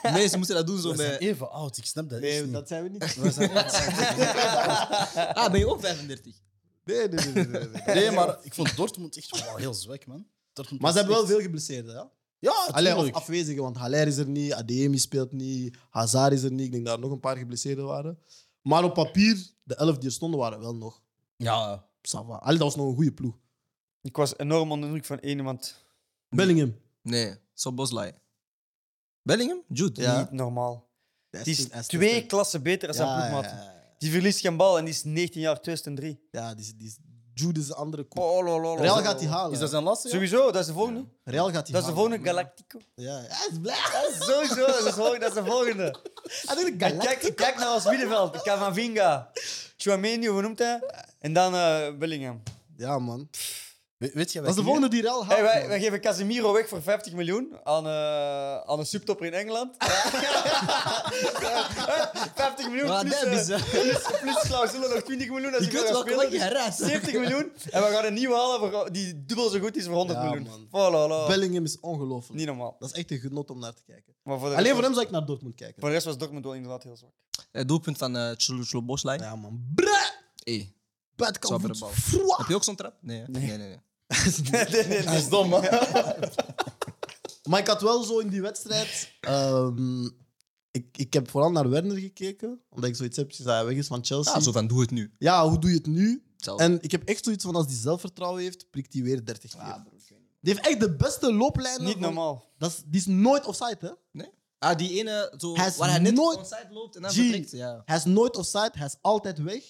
Mensen moeten dat doen zo We zijn met... even oud. Ik snap dat echt Nee, niet. dat zijn we niet. We zijn echt- Ah, ben je ook 35? Nee, nee, nee. nee, nee, nee. Nee, maar ik vond Dortmund echt wel heel zwak, man. Dortmund Maar was ze hebben wel echt- veel geblesseerd, ja? Ja, Allee, of tuurlijk. afwezigen, want Haller is er niet, Ademi speelt niet, Hazard is er niet. Ik denk dat er nog een paar geblesseerden waren. Maar op papier, de elf die er stonden, waren wel nog. Ja, ça va. Allee, dat was nog een goede ploeg. Ik was enorm onder de indruk van één iemand. Bellingham. Nee, Soboslai. Bellingham? Jude. Ja. Niet normaal. Dat Die geen is Aston twee Villa. klassen beter dan zijn Ja, ploegmaat. Ja, ja. Die verliest geen bal en die is 19 jaar 2003. Ja, die, is- die is Jude is de andere kop. Oh, lo, lo, lo, Real lo, gaat die lo. halen. is dat zijn laatste? ja? Sowieso, dat is de volgende. Real gaat die Dat is de halen. volgende Galactico. Ja, hij is blij. Sowieso, dat is de volgende. Dat is de volgende. En kijk, kijk naar ons middenveld. Camavinga, Chouameni, hoe noemt hij? En dan eh, Bellingham. Ja, man. We- weet je, Dat is de volgende die Real haalt. Hey, wij, man. wij geven Casemiro weg voor 50 miljoen aan, eh, aan een subtopper in Engeland. 50 miljoen Maar plus, dat eh, is, eh, plus, plus clausule nog 20 miljoen. Als Ik weet wel welke geraakt. 70 miljoen. En we gaan een nieuwe halen voor, die dubbel zo goed is voor 100 Ja, miljoen. man. Voilà, voilà. Bellingham is ongelooflijk. Niet normaal. Dat is echt een genot om naar te kijken. Maar voor de Alleen rest voor was- hem zou ik naar Dortmund kijken. Voor de rest was Dortmund wel inderdaad heel zwak. Het doelpunt van eh Soboslai. Ja, man. Brrr! Hey. Buitenkant Zwabbere voet. bal. Froa! Eh. Heb je ook zo'n trap? Nee, hè? nee, nee. nee. nee, nee, nee. Dat is dom, man. Maar ik had wel zo in die wedstrijd. ehm, ik, ik heb vooral naar Werner gekeken, omdat ik zoiets heb gezien dat hij weg is van Chelsea. Ja, Ah, zo van doe het nu. Ja, hoe doe je het nu? Hetzelfde. En ik heb echt zoiets van: als die zelfvertrouwen heeft, prikt hij weer 30 keer. die heeft echt de beste looplijnen. Niet van- normaal. Dat is, die is nooit offside, hè? Ah, die ene zo, Hij is waar hij net nooit- onside loopt en dan G. vertrekt. Ja. Hij is nooit offside, hij is altijd weg.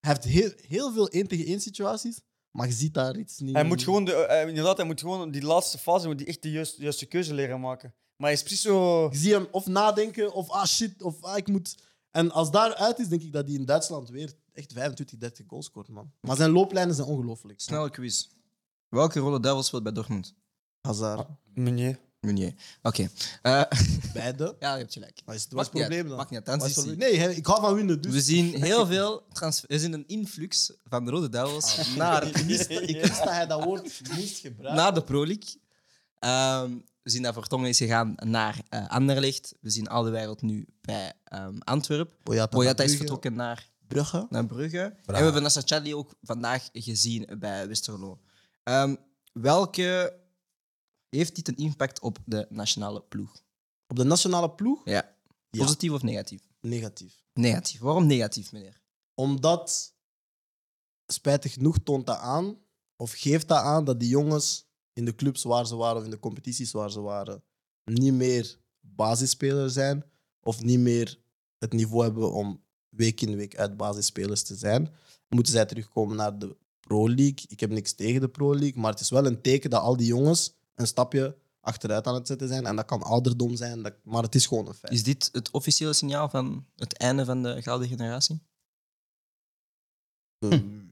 Hij heeft heel, heel veel 1 tegen 1 situaties, maar je ziet daar iets niet. Hij moet gewoon, de, eh, inderdaad, hij moet gewoon die laatste fase moet die echt de juiste, juiste keuze leren maken. Maar hij is precies zo. Ik zie hem of nadenken, of ah shit, of ah ik moet. En als daaruit is, denk ik dat hij in Duitsland weer echt 25, 30 goals scoort, man. Maar zijn looplijnen zijn ongelooflijk. Snelle quiz. Welke rode duivel speelt bij Dortmund? Hazard. Ah. Meneer. Meunier. Oké. Eh, Beide. ja, je hebt gelijk. Wat is het Maakt niet probleem uit, dan? maakt niet uit, Wat is het transitie. probleem? Nee, hè, ik hou van winnen, dus. We zien heel veel trans- We zien een influx van de rode duivels Ah. naar, Ik wist dat hij dat woord moest gebruiken. naar de Pro League. Ehm, we zien dat Vertongen is gegaan naar eh Anderlecht. We zien al de wereld nu bij ehm Antwerpen. Boyata, Boyata is Brugge. vertrokken naar Brugge. naar Brugge. En we hebben Nassachali ook vandaag gezien bij Westerlo. Ehm, welke heeft dit een impact op de nationale ploeg? Op de nationale ploeg? Ja. Ja. Positief of negatief? Negatief. Negatief. Waarom negatief, meneer? Omdat, spijtig genoeg, toont dat aan, of geeft dat aan, dat die jongens in de clubs waar ze waren of in de competities waar ze waren, niet meer basisspeler zijn of niet meer het niveau hebben om week in week uit basisspelers te zijn. Moeten zij terugkomen naar de Pro League? Ik heb niks tegen de Pro League, maar het is wel een teken dat al die jongens een stapje achteruit aan het zetten zijn. En dat kan ouderdom zijn, dat, maar het is gewoon een feit. Is dit het officiële signaal van het einde van de gouden generatie?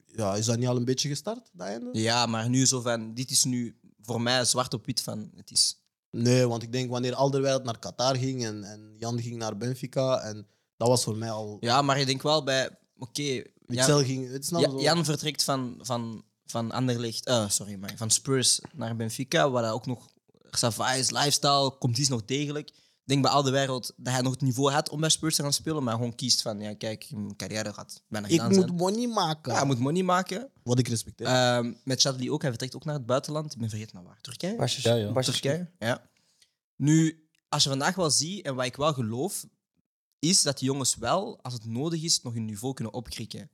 Ja, is dat niet al een beetje gestart, dat einde? Ja, maar nu zo van... Dit is nu voor mij zwart op wit van... Het is... Nee, want ik denk wanneer Alderweireld naar Qatar ging en, en Jan ging naar Benfica en dat was voor mij al... Ja, maar ik denk wel bij... Oké, Jan, Mitchell ging... Het snap Ja- zo. Jan vertrekt van, van, van Anderlecht... eh, sorry, maar van Spurs naar Benfica, waar hij ook nog... Sava is, lifestyle, komt iets nog degelijk. Ik denk bij al de wereld dat hij nog het niveau had om bij Spurs te gaan spelen, maar gewoon kiest van... Ja, kijk, mijn carrière gaat bijna ik gedaan moet zijn. money maken. Ja, hij moet money maken. Wat ik respecteer. Ehm, met Chadli ook, hij vertrekt ook naar het buitenland. Ik ben vergeten naar waar. Turkije? Basjes. Ja, ja. Basjes- Turkije, ja. Nu, als je vandaag wel ziet, en wat ik wel geloof, is dat die jongens wel, als het nodig is, nog hun niveau kunnen opkrikken.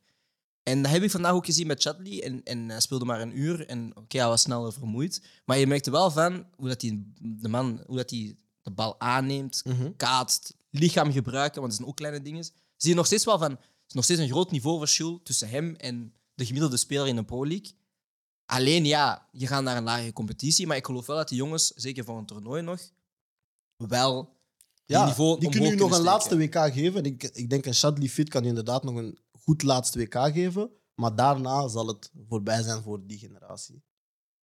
En dat heb ik vandaag ook gezien met Chadli. En, en hij speelde maar een uur. En oké, hij was snel vermoeid. Maar je merkte wel van hoe dat die, de man hoe dat die de bal aanneemt, Mhm. kaatst, lichaam gebruiken, want dat zijn ook kleine dingen. Zie je nog steeds wel van... Er is nog steeds een groot niveauverschil tussen hem en de gemiddelde speler in de Pro League. Alleen ja, je gaat naar een lagere competitie. Maar ik geloof wel dat die jongens, zeker voor een toernooi nog, wel ja, niveau die omhoog kunnen u nog een kunnen laatste WK geven. Ik, ik denk een Shadley Fit kan u inderdaad nog een goed laatste WK geven. Maar daarna zal het voorbij zijn voor die generatie.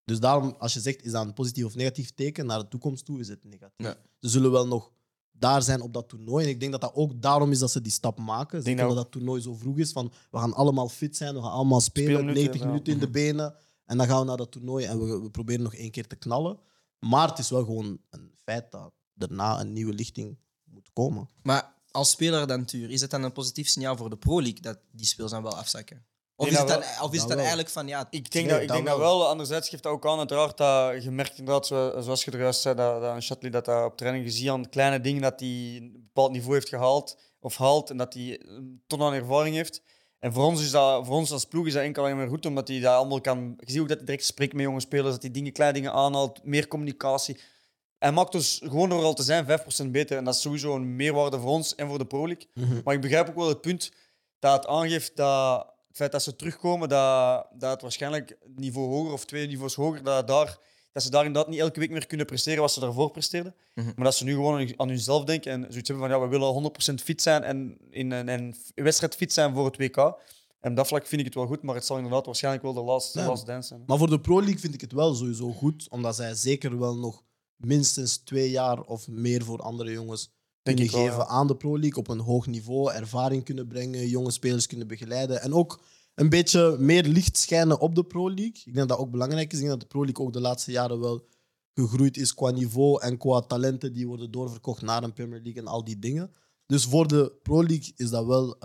Dus daarom, als je zegt, is dat een positief of negatief teken, naar de toekomst toe is het negatief. Ja. Ze zullen wel nog daar zijn op dat toernooi. En ik denk dat dat ook daarom is dat ze die stap maken. Zeker dat dat dat toernooi zo vroeg is van, we gaan allemaal fit zijn, we gaan allemaal spelen, Speelminuten, 90 ja. minuten in de benen. En dan gaan we naar dat toernooi en we, we proberen nog één keer te knallen. Maar het is wel gewoon een feit dat daarna een nieuwe lichting moet komen. Maar als speler dan, Tuur, is het dan een positief signaal voor de Pro League dat die spelers dan wel afzakken? Of denk is het dat dan, of is het dan dat nou wel. eigenlijk van, ja, Ik denk, Nee, dat, ik dat denk dat wel. wel. Anderzijds geeft dat ook aan, uiteraard, dat je merkt inderdaad, zo- zoals je er juist zei, dat, dat een Shatley dat daar op training gezien aan kleine dingen dat hij een bepaald niveau heeft gehaald of haalt en dat hij een ton aan ervaring heeft. En voor ons, is dat, voor ons als ploeg is dat enkel alleen maar goed, omdat hij dat allemaal kan... Je ziet ook dat hij direct spreekt met jonge spelers, dat hij dingen, kleine dingen aanhaalt, meer communicatie. Hij maakt ons gewoon door al te zijn 5% beter. En dat is sowieso een meerwaarde voor ons en voor de Pro League. Maar ik begrijp ook wel het punt dat het aangeeft dat het feit dat ze terugkomen, dat, dat het waarschijnlijk een niveau hoger of twee niveaus hoger, dat, daar, dat ze daar inderdaad niet elke week meer kunnen presteren wat ze daarvoor presteerden. Mhm. Maar dat ze nu gewoon aan- aan hunzelf denken en zoiets hebben van ja, we willen 100% fit zijn en in een, en een wedstrijd fit zijn voor het WK. En op dat vlak vind ik het wel goed, maar het zal inderdaad waarschijnlijk wel de laatste, Ja. laatste dance zijn. Maar voor de Pro League vind ik het wel sowieso goed, omdat zij zeker wel nog minstens twee jaar of meer voor andere jongens Denk kunnen ik wel, geven ja. aan de Pro League. Op een hoog niveau ervaring kunnen brengen, jonge spelers kunnen begeleiden. En ook een beetje meer licht schijnen op de Pro League. Ik denk dat dat ook belangrijk is. Ik denk dat de Pro League ook de laatste jaren wel gegroeid is qua niveau en qua talenten die worden doorverkocht naar een Premier League en al die dingen. Dus voor de Pro League is dat wel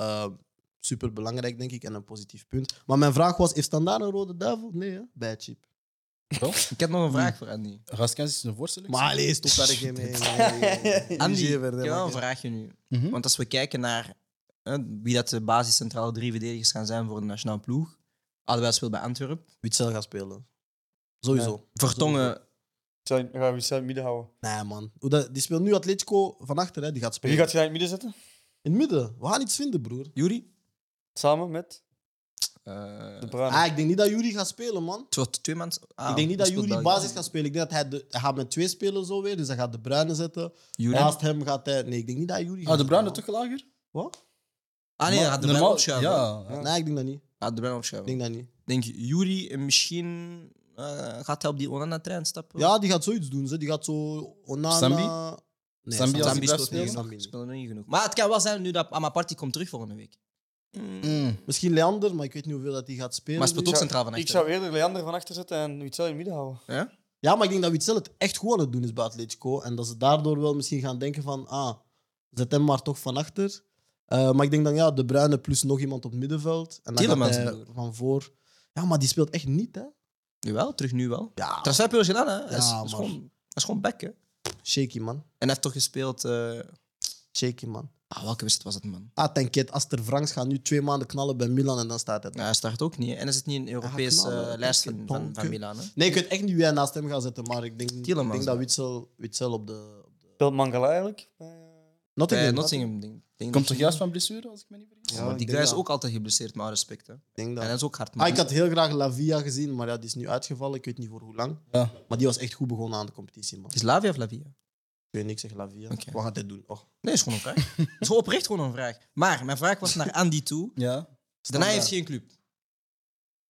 super belangrijk, denk ik, en een positief punt. Maar mijn vraag was: heeft Standaard een rode duivel? Nee, hè? Bad chip. ik heb nog een vraag voor Andy. Raskans is een voorstelling. Maar allee, stop daar geen mee. man. Andy, Die ik heb verder, wel een man. vraagje nu. Mhm. Want als we kijken naar hè, wie dat de basiscentrale drie verdedigers gaan zijn voor de nationale ploeg, Alhoewel speelt bij Antwerpen. Witzel gaat spelen. Sowieso. Vertongen, Ik zou- Ik ga Wissel in het midden houden. Nee, man. Hoe dat- Die speelt nu Atletico van achter, hè. Die gaat Wie spelen. gaat je daar in het midden zetten? In het midden. We gaan iets vinden, broer. Juri. Samen met eh, De Bruyne. Ah, ik denk niet dat Jury gaat spelen, man. het wordt twee mans. ah, ik denk hij niet dat speelt Jury België. basis gaat spelen. Ik denk dat hij, de, hij gaat met twee spelen zo weer. Dus hij gaat de Bruine zetten. Juri. Naast hem gaat hij... Nee, ik denk niet dat Jury gaat Ah, de Bruine spelen, toch lager? man. Wat? Ah nee, hij gaat de Bruin ja. opschuiven. Hij ja. Nee, ik denk dat niet. gaat de Bruin Ik opschuiven. denk dat niet. Ik denk Juri en misschien eh, gaat hij op die Onana-trein stappen. Ja, die gaat zoiets doen. Ze. Die gaat zo Onana... Sambi? Nee, Sambi Zambi als hij blijft speelt spelen? niet Zambi genoeg. niet. Speelt nog niet genoeg. Maar het kan wel zijn nu dat Amaparty komt terug volgende week. Mm. Mm. Misschien Leander, maar ik weet niet hoeveel dat hij gaat spelen. Maar speelt nu. ook zou- centraal van Ik achter. zou eerder Leander van achter zetten en Witzel in het midden houden. Ja? Ja, maar ik denk dat Witzel het echt gewoon aan het doen is bij Atletico. En dat ze daardoor wel misschien gaan denken van... Ah, zet hem maar toch van achter. Eh, maar ik denk dan, ja, De Bruyne plus nog iemand op het middenveld. En dan gaat Tielemans hij bedoel je? van voor... Ja, maar die speelt echt niet, hè. Jawel, terug nu wel. Ja, Transferpeur is gedaan, hè? Hij is, Ja, is maar- gewoon, hij is gewoon back, hè? En shaky, man. hij heeft toch gespeeld. eh, Shaky, man. Ah, welke wedstrijd was het, man? Ah, ten kid, Aster Franks gaat nu twee maanden knallen bij Milan en dan staat hij Ja, daar. hij start ook niet. hè. En hij zit niet in de Europese knallen, eh, lijst van, Pietje van, van Bonke. Milaan. Hè? Nee, ik weet echt niet wie hij naast hem gaat zetten, maar ik denk, ik Tielemans, denk dat man. Witzel, Witzel op de... Op de... Speelt Mangala eigenlijk? Bij, eh, Bij Nottingham. Nottingham. Denk, denk Komt dat- toch juist van blessure, als ik me niet vergis? Ja, Ja, maar ik die denk guy is dat. ook altijd geblesseerd, maar respect. Hè. Ik denk En dat. dat is ook hard. Ah, ik had heel graag Lavia gezien, maar ja, die is nu uitgevallen. Ik weet niet voor hoe lang. Ja. Maar die was echt goed begonnen aan de competitie, man. Is Lavia of Lavia? Ik weet niks, zeg Lavia. Oké. Wat gaat hij doen? Och. Nee, is gewoon een vraag. Het is oprecht gewoon een vraag. Maar mijn vraag was naar Andy toe. Ja. Daarna heeft geen club.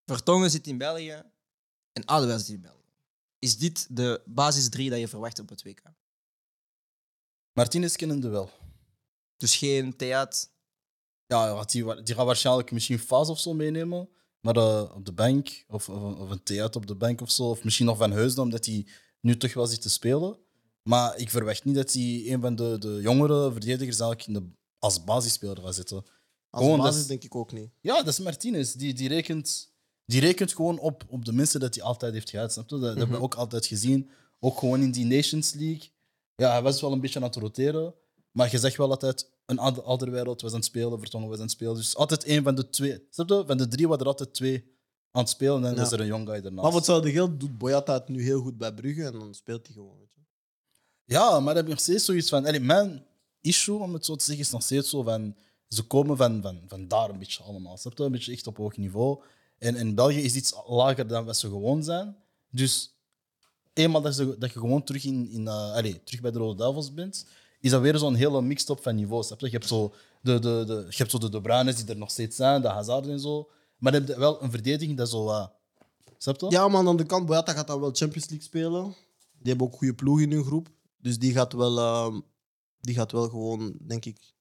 Vertongen zit in België en Alderwijl zit in België. Is dit de basis 3 dat je verwacht op het WK? Martinez kennende wel. Dus geen theater. Ja, wat die, wa- die gaat waarschijnlijk misschien Faas of zo meenemen. Maar eh, op de bank, of, of, of een theater op de bank of zo. Of misschien nog Van Heusden, omdat hij nu toch wel zit te spelen. Maar ik verwacht niet dat hij een van de, de jongere verdedigers eigenlijk in de, als basisspeler gaat zitten. Als Gewoon, basis dat is- denk ik ook niet. Ja, dat is Martinez. Die, die, rekent, die rekent gewoon op, op de mensen dat hij altijd heeft gehad. Snap je? Dat, dat hebben Mhm. we ook altijd gezien. Ook gewoon in die Nations League. Ja, hij was wel een beetje aan het roteren. Maar je zegt wel altijd, een ander Alderwereld was aan het spelen, Vertongen was aan het spelen. Dus altijd één van de twee. Snap je? Van de drie waren er altijd twee aan het spelen. En dan Ja. was er een young guy daarnaast. Maar voor hetzelfde geld doet Boyata het nu heel goed bij Brugge en dan speelt hij gewoon. Weet je. Ja, maar dan heb je nog steeds zoiets van... Allee, mijn issue, om het zo te zeggen, is nog steeds zo van... Ze komen van, van, van daar een beetje allemaal. Snap je? Een beetje echt op hoog niveau. En, en België is iets lager dan wat ze gewoon zijn. Dus eenmaal dat, ze, dat je gewoon terug, in, in, eh, allee, terug bij de Rode Duivels bent, is dat weer zo'n hele mix-up van niveaus. Snap je? Je hebt zo de, de, de, je hebt zo de De Bruyne's die er nog steeds zijn, de Hazard en zo. Maar dan heb je wel een verdediging dat zo... eh, snap je? Ja, maar aan de andere kant, Boyata gaat dan wel Champions League spelen. Die hebben ook goede ploeg in hun groep. Dus die gaat wel, ehm, die gaat wel gewoon, denk ik,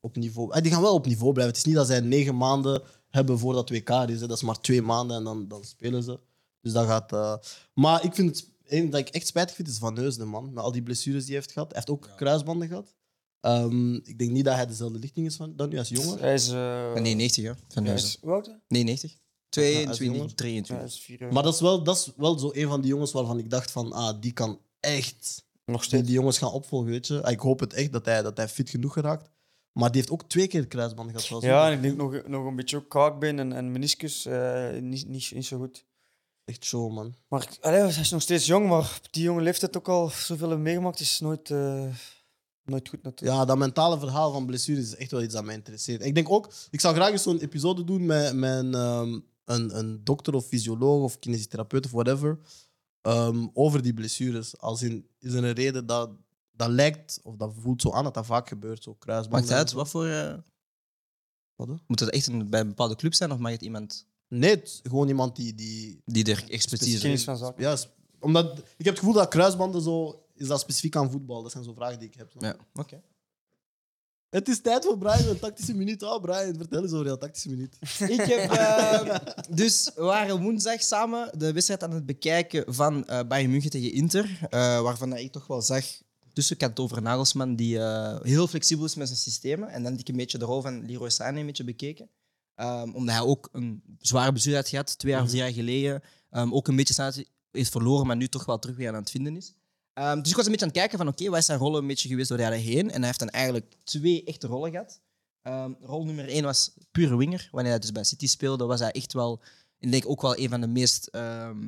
op niveau. Eh, die gaan wel op niveau blijven. Het is niet dat zij negen maanden hebben voordat WK er is. Hè. Dat is maar twee maanden en dan, dan spelen ze. Dus dat gaat. eh, Maar ik vind het. Een dat ik echt spijtig vind is Van Heusden, man. Met al die blessures die hij heeft gehad. Hij heeft ook kruisbanden gehad. Ehm, ik denk niet dat hij dezelfde lichting is van, dan nu als jongen. Hij is... eh, Van 99, hè? Van hij Neuzen. is- hoe oud, hè? 99. nou, 22, Ja, hij 23. is vier jaar. Maar dat is, wel, dat is wel zo een van die jongens waarvan ik dacht van, ah, die kan echt nog Dus die, steeds. die jongens gaan opvolgen, weet je. Ik hoop het echt dat hij, dat hij fit genoeg geraakt. Maar die heeft ook twee keer kruisband gehad. zoals Ja, ik. en ik denk nog, nog een beetje ook kaakbeen en, en meniscus. eh, niet, niet, niet zo goed. Echt show, man. Maar ik- allee, hij is nog steeds jong, maar op die jonge leeftijd ook al zoveel hebben meegemaakt, is nooit, eh, nooit goed natuurlijk. Ja, dat mentale verhaal van blessures is echt wel iets dat mij interesseert. Ik denk ook, ik zou graag eens zo'n episode doen met, met een, ehm, een, een dokter of fysioloog of kinesitherapeut of whatever. ehm, over die blessures. Als in, is er een reden dat dat lijkt of dat voelt zo aan dat dat vaak gebeurt, zo kruisband. Maakt uit, wat voor... eh, Wat, hè? moet het echt een, bij een bepaalde club zijn of mag het iemand Nee, het is gewoon iemand die. die dus die er expertise Kennis heeft? van zaken. ja, is- omdat, ik heb het gevoel dat kruisbanden zo. Is dat specifiek aan voetbal? Dat zijn zo vragen die ik heb. Ja, oké. Het is tijd voor Brian, een tactische minuut. Oh, Brian, vertel eens over jouw tactische minuut. Ik heb, eh, dus we waren woensdag samen de wedstrijd aan het bekijken van eh Bayern München tegen Inter. eh, waarvan ik toch wel zag tussenkant over Nagelsman, die eh, heel flexibel is met zijn systemen. En dan heb ik een beetje de rol van Leroy Sané een beetje bekeken. Ehm, omdat hij ook een zware bestuur had gehad, twee jaar of drie jaar geleden. Ehm, ook een beetje snelheid heeft verloren, maar nu toch wel terug weer aan het vinden is. Ehm, dus ik was een beetje aan het kijken van oké, wat is zijn rollen een beetje geweest door de jaren heen? En hij heeft dan eigenlijk twee echte rollen gehad. Ehm, rol nummer één was pure winger. Wanneer hij dus bij City speelde, was hij echt wel, ik denk ook wel een van de meest. ehm,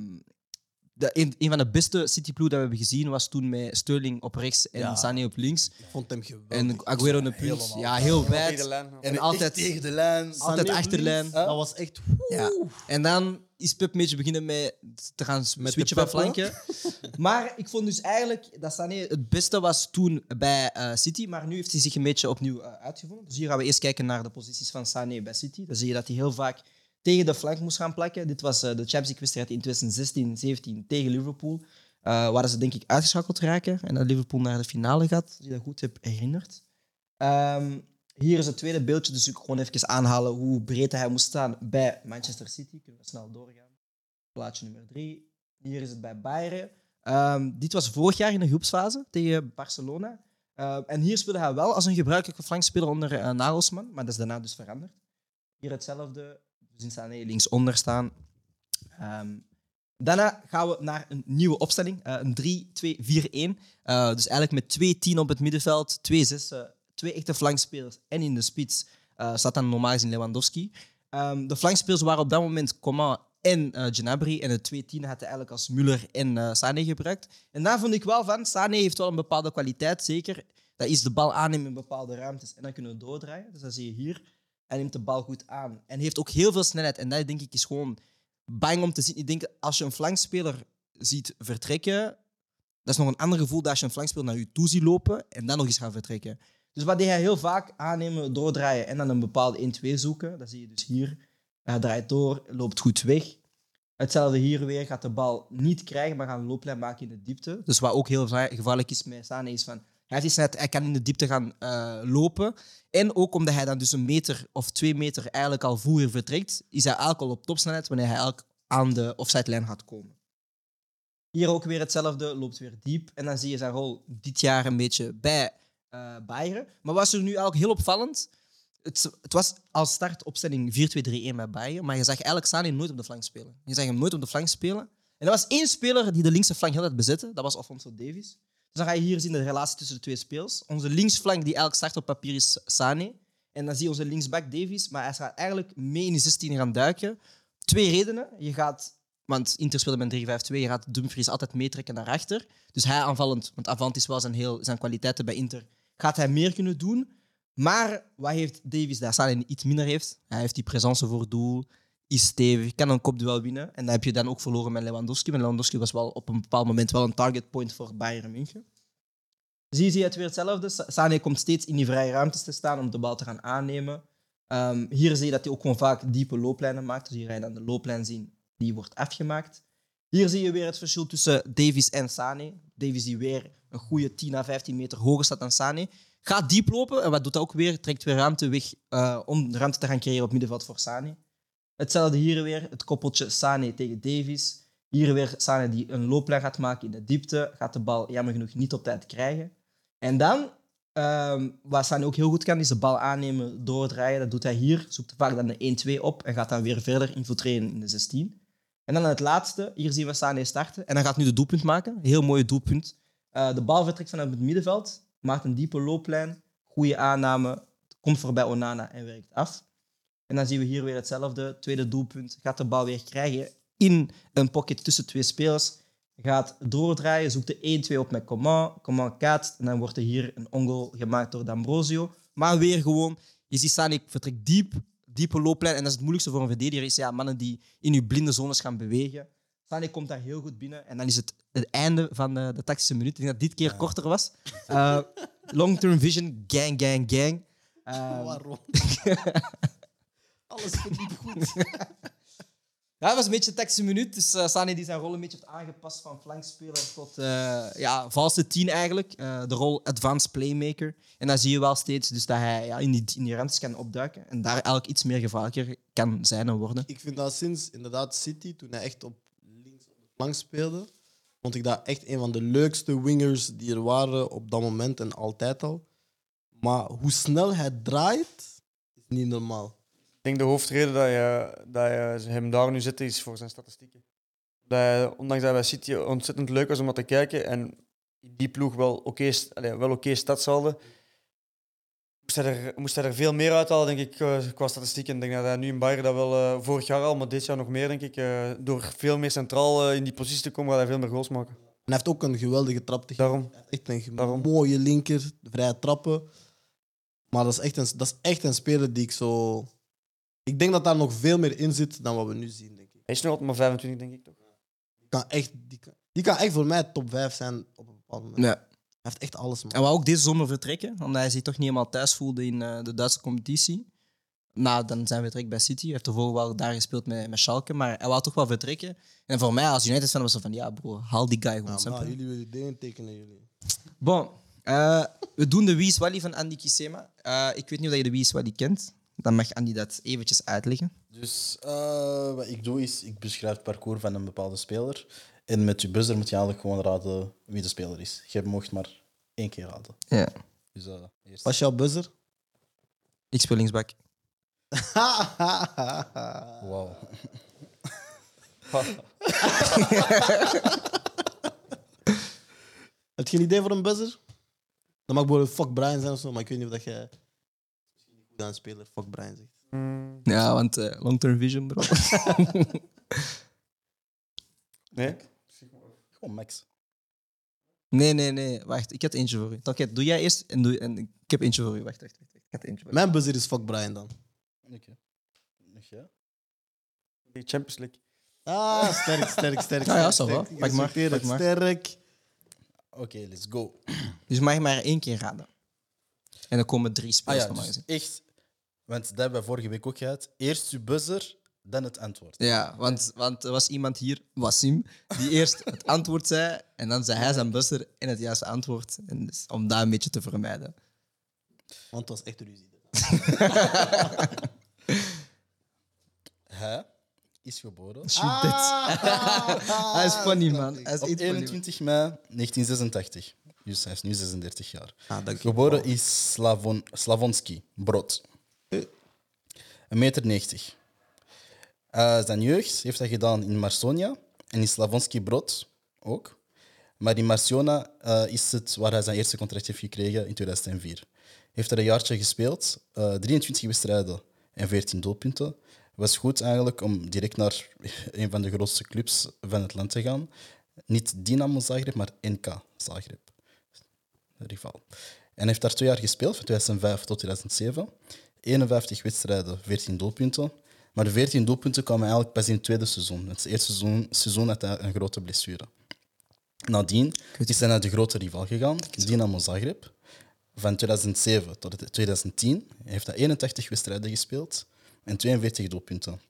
de, een, een van de beste City-ploeg dat we hebben gezien was toen met Sterling op rechts en Ja. Sané op links. Ik vond hem geweldig. En Aguero in de punt. Helemaal. Ja, heel Nog tegen de wijd. lijn. En altijd- echt tegen de lijn. Altijd Sané op achterlijn. links, Huh? Dat was echt. Ja. En dan is Pep een beetje beginnen met te gaan Met switchen de van Pep, hoor. flanken. maar ik vond dus eigenlijk dat Sané het beste was toen bij eh, City. Maar nu heeft hij zich een beetje opnieuw eh, uitgevonden. Dus hier gaan we eerst kijken naar de posities van Sané bij City. Dan zie je dat hij heel vaak tegen de flank moest gaan plakken. Dit was eh, de Champions League-wedstrijd in 2016-17 tegen Liverpool. eh, waar ze denk ik uitgeschakeld raken. En dat Liverpool naar de finale gaat, als ik dat goed heb herinnerd. Ehm, hier is het tweede beeldje, dus ik gewoon even aanhalen hoe breed hij moest staan bij Manchester City. Kunnen we snel doorgaan. Plaatje nummer drie. Hier is het bij Bayern. Ehm, dit was vorig jaar in de groepsfase tegen Barcelona. Ehm, en hier speelde hij wel als een gebruikelijke flankspeler onder eh, Nagelsman, maar dat is daarna dus veranderd. Hier hetzelfde, we zien Sané linksonder staan. Ehm, daarna gaan we naar een nieuwe opstelling, eh, een 3-2-4-1. Eh, dus eigenlijk met twee tien op het middenveld, twee zessen, twee echte flankspelers en in de spits eh, staat dan normaal gezien Lewandowski. Ehm, de flankspelers waren op dat moment Coman en eh Gnabry. En de twee tienen had hij eigenlijk als Muller en eh Sané gebruikt. En daar vond ik wel van, Sané heeft wel een bepaalde kwaliteit, zeker. Dat is de bal aannemen in bepaalde ruimtes en dan kunnen we doordraaien. Dus dat zie je hier. Hij neemt de bal goed aan. En heeft ook heel veel snelheid. En dat denk ik is gewoon bang om te zien. Ik denk, als je een flankspeler ziet vertrekken, dat is nog een ander gevoel dan als je een flankspeler naar je toe ziet lopen en dan nog eens gaan vertrekken. Dus wat deed hij heel vaak aannemen, doordraaien en dan een bepaalde 1-2 zoeken. Dat zie je dus hier. Hij draait door, loopt goed weg. Hetzelfde hier weer, gaat de bal niet krijgen, maar gaat een looplijn maken in de diepte. Dus wat ook heel gevaar- gevaarlijk is met Sané is van... Hij, heeft iets net, hij kan in de diepte gaan eh, lopen. En ook omdat hij dan dus een meter of twee meter eigenlijk al vroeger vertrekt, is hij eigenlijk al op topsnelheid wanneer hij eigenlijk aan de offside-lijn gaat komen. Hier ook weer hetzelfde, loopt weer diep. En dan zie je zijn rol dit jaar een beetje bij eh Bayern. Maar was er nu eigenlijk heel opvallend? Het, het was als startopstelling 4-2-3-1 bij Bayern, maar je zag eigenlijk Sané nooit op de flank spelen. Je zag hem nooit op de flank spelen. En er was één speler die de linkse flank heel tijd bezette, dat was Alfonso Davies. Dus dan ga je hier zien de relatie tussen de twee speels. Onze linksflank die eigenlijk start op papier is Sané. En dan zie je onze linksback Davies, maar hij gaat eigenlijk mee in die 16 gaan duiken. Twee redenen. Je gaat, want Inter speelde met 3-5-2, je gaat Dumfries altijd meetrekken naar achter. Dus hij aanvallend, want Avant is wel zijn, heel, zijn kwaliteiten bij Inter, gaat hij meer kunnen doen. Maar wat heeft Davies dat Sané iets minder heeft? Hij heeft die presence voor het doel, is stevig, kan een kopduel winnen. En dat heb je dan ook verloren met Lewandowski. Maar Lewandowski was wel op een bepaald moment wel een target point voor Bayern München. Zie zie je het weer hetzelfde. Sa- Sané komt steeds in die vrije ruimtes te staan om de bal te gaan aannemen. Ehm, hier zie je dat hij ook gewoon vaak diepe looplijnen maakt. Dus hier ga je dan de looplijn zien, die wordt afgemaakt. Hier zie je weer het verschil tussen Davies en Sané. Davies die weer een goede 10 à 15 meter hoger staat dan Sané. Gaat diep lopen en wat doet hij ook weer? Trekt weer ruimte weg eh, om ruimte te gaan creëren op middenveld voor Sané. Hetzelfde hier weer, het koppeltje Sané tegen Davies. Hier weer Sané die een looplijn gaat maken in de diepte. Gaat de bal jammer genoeg niet op tijd krijgen. En dan Ehm, wat Sani ook heel goed kan, is de bal aannemen, doordraaien. Dat doet hij hier. Zoekt vaak dan de 1-2 op en gaat dan weer verder infiltreren in de 16. En dan het laatste, hier zien we Sane starten. En dan gaat nu de doelpunt maken. Heel mooi doelpunt. Eh, de bal vertrekt vanuit het middenveld, maakt een diepe looplijn, goede aanname, komt voorbij Onana en werkt af. En dan zien we hier weer hetzelfde. Tweede doelpunt, gaat de bal weer krijgen in een pocket tussen twee spelers. Gaat doordraaien, zoekt de 1-2 op met Coman. Coman kaatst en dan wordt er hier een ongoal gemaakt door D'Ambrosio. Maar weer gewoon, je ziet staan, ik vertrek diep, diepe looplijn. En dat is het moeilijkste voor een verdediger, is ja, mannen die in uw blinde zones gaan bewegen. Sané komt daar heel goed binnen en dan is het het einde van de, de tactische minuut. Ik denk dat dit keer korter was. Eh, Long-term vision, gang, gang, gang. Eh, Waarom? alles verliep goed. ja, het was een beetje een tactische minuut. Dus eh Sani die zijn rol een beetje heeft aangepast van flankspeler tot eh, ja, valse tien eigenlijk. Eh, de rol advanced playmaker. En dan zie je wel steeds dus dat hij ja, in, die, in die ruimtes kan opduiken. En daar eigenlijk iets meer gevaarlijker kan zijn en worden. Ik vind dat sinds inderdaad City, toen hij echt op links op de flank speelde, vond ik dat echt een van de leukste wingers die er waren op dat moment en altijd al. Maar hoe snel hij draait, is niet normaal. Ik denk de hoofdreden dat je, dat je hem daar nu zit, is voor zijn statistieken. Dat hij, ondanks dat hij bij City ontzettend leuk was om naar te kijken en die ploeg wel oké st- allee, wel oké stats hadden, moest hij, er, moest hij er veel meer uithalen, denk ik, eh, qua statistieken. Ik denk dat hij nu in Bayern dat wel eh, vorig jaar al, maar dit jaar nog meer, denk ik. eh, door veel meer centraal eh, in die positie te komen, gaat hij veel meer goals maken. En hij heeft ook een geweldige trap te geven. Daarom. Hij heeft Echt een Daarom. mooie linker, vrije trappen. Maar dat is, echt een, dat is echt een speler die ik zo... Ik denk dat daar nog veel meer in zit dan wat we nu zien, denk ik. Hij is nu altijd maar 25, denk ik toch? Die kan echt, die kan, die kan echt voor mij top 5 zijn op een bepaald moment. Ja. Hij heeft echt alles, man. En wou ook deze zomer vertrekken, omdat hij zich toch niet helemaal thuis voelde in eh, de Duitse competitie. Nou, dan zijn we vertrek bij City. Hij heeft ervoor wel daar gespeeld met, met Schalke, maar hij wou toch wel vertrekken. En voor mij als United fan was het van, ja bro, haal die guy gewoon. Ja, simpel. maar jullie willen dingen tekenen, jullie. Bon, eh, we doen de Wie is Wally van Andy Kisema. Eh, ik weet niet of je de Wie is Wally kent. Dan mag Andy dat eventjes uitleggen. Dus eh, wat ik doe is, ik beschrijf het parcours van een bepaalde speler. En met je buzzer moet je eigenlijk gewoon raden wie de speler is. Je mocht maar één keer raden. Ja. Dus eh, eerst. Was jouw buzzer? Ik speel linksback. Wauw. Heb je een idee voor een buzzer? Dat mag bijvoorbeeld fuck Brian zijn of zo, maar ik weet niet of dat jij... Dan een speler fuck Brian zegt. Mm, Ja, want eh, long-term vision, bro. nee. Gewoon Max. nee, nee, nee. Wacht, ik had eentje voor u. Oké, doe jij eerst en, doe, en ik heb eentje voor u. Wacht, wacht, wacht. Ik had eentje voor u. Mijn buzzer is fuck Brian dan. Oké. Nog jij? Die Champions League. Ah, sterk, sterk, sterk. Ja, ja, sterk, ça va. sterk. Pak maar, Gefeliciteerd, pak maar. Sterk. Oké, let's go. Dus je mag maar één keer raden. En dan komen drie Ah spelers ja, van mij dus gezien. echt. Want dat hebben we vorige week ook gehad. Eerst je buzzer, dan het antwoord. Ja, want, want er was iemand hier, Wasim, die eerst het antwoord zei en dan zei hij zijn buzzer en het juiste antwoord. En dus om dat een beetje te vermijden. Want het was echt ruzie. Hij is geboren Shoot that. Hij is funny, man. Hij Ah. is op echt funny. 21 mei 1986. Dus hij is nu 36 jaar. Ah, dank je. Geboren is Slavon, Slavonski, brood. Eh. 1,90 meter. 90. Eh, zijn jeugd heeft hij gedaan in Marsonia en in Slavonski Brod ook. Maar in Marciona eh, is het waar hij zijn eerste contract heeft gekregen in 2004. Heeft er een jaartje gespeeld, eh, 23 wedstrijden en 14 doelpunten. Was goed eigenlijk om direct naar een van de grootste clubs van het land te gaan. Niet Dinamo Zagreb, maar NK Zagreb rival. En heeft daar twee jaar gespeeld, van 2005 tot 2007. 51 wedstrijden, 14 doelpunten. Maar de 14 doelpunten kwamen eigenlijk pas in het tweede seizoen. Het eerste seizoen, seizoen had hij een grote blessure. Nadien is hij naar de grote rival gegaan, Dinamo Zagreb. Van 2007 tot 2010 heeft hij 81 wedstrijden gespeeld en 42 doelpunten.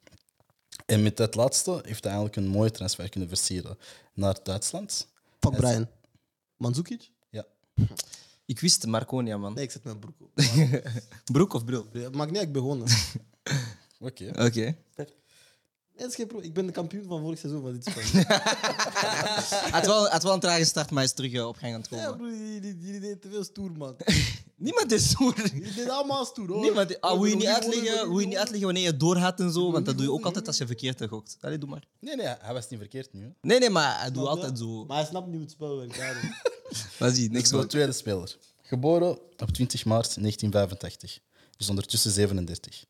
En met dat laatste heeft hij eigenlijk een mooie transfer kunnen versieren naar Duitsland. Fuck Brian. Manzukic? Ja, Ik wist Marconia, man. Nee, ik zet mijn broek op. Broek of bril? Het maakt niet uit, ik ben gewonnen. Nee, oké. Oké. dat is geen probleem. Ik ben de kampioen van vorig seizoen van dit spel. Hij had wel, had wel een trage start, maar hij is terug eh, op gang aan het komen. Ja, broer, jullie jullie deden te veel stoer, man. Niemand is stoer. Je deed allemaal stoer, hoor. Niemand, is- ah, hoe, je niet uitleggen, hoe je niet uitleggen. uitleggen wanneer je doorhaat en zo, want dat doe je ook gewonnen, altijd als je verkeerd hebt gokt. Allee, doe maar. Nee, nee, hij was niet verkeerd nu. hè. Nee, nee, maar hij doet altijd zo. Maar hij snapt niet hoe het spel werkt. daarom. Maar zie, Niks niks voor de wat. tweede speler. Geboren op 20 maart 1985. Dus ondertussen 37.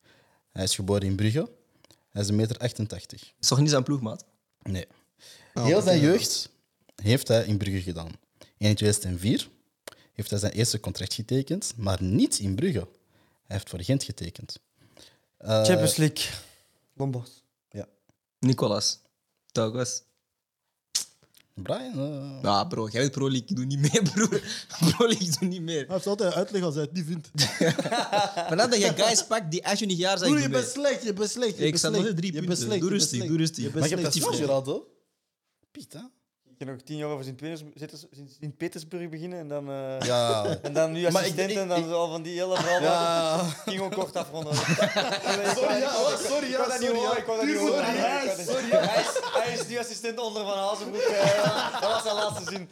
Hij is geboren in Brugge. Hij is 1,88 meter. 88. Is toch niet zijn ploegmaat? Nee. Ja, Heel Oh, dat zijn is wel. jeugd heeft hij in Brugge gedaan. En in 2004 heeft hij zijn eerste contract getekend, maar niet in Brugge. Hij heeft voor Gent getekend. Eh, Champions League. Lombard. Nicolas. Toch was. Brian, eh, Ja, bro, jij weet Pro League, ik doe niet meer, bro. Pro League, ik doe niet meer. Hij heeft altijd uitleg als hij het niet vindt. Vanaf dat je guys pakt die 28 jaar zijn, Broer, je ik doe bent mee. slecht, je bent slecht. Je Ik bent sta nog slecht. in drie Je bent punten. slecht, Doe je bent rustig, slecht. doe rustig. Je bent maar je hebt dat slecht. snel geraden, hoor. Piet, hè? Ik kan nog tien jaar over Sint-Petersburg beginnen en dan... eh, Ja. En dan nu Maar ik- assistent ik- en dan ik- zo van die hele verhaal. ja. Ik ging gewoon kort afronden. sorry, sorry, Ik kan dat niet horen, ik kan dat niet horen. Ik kan dat- Hij is- Hij is nu assistent onder Van Hazenbroek. eh, Dat was zijn laatste zin.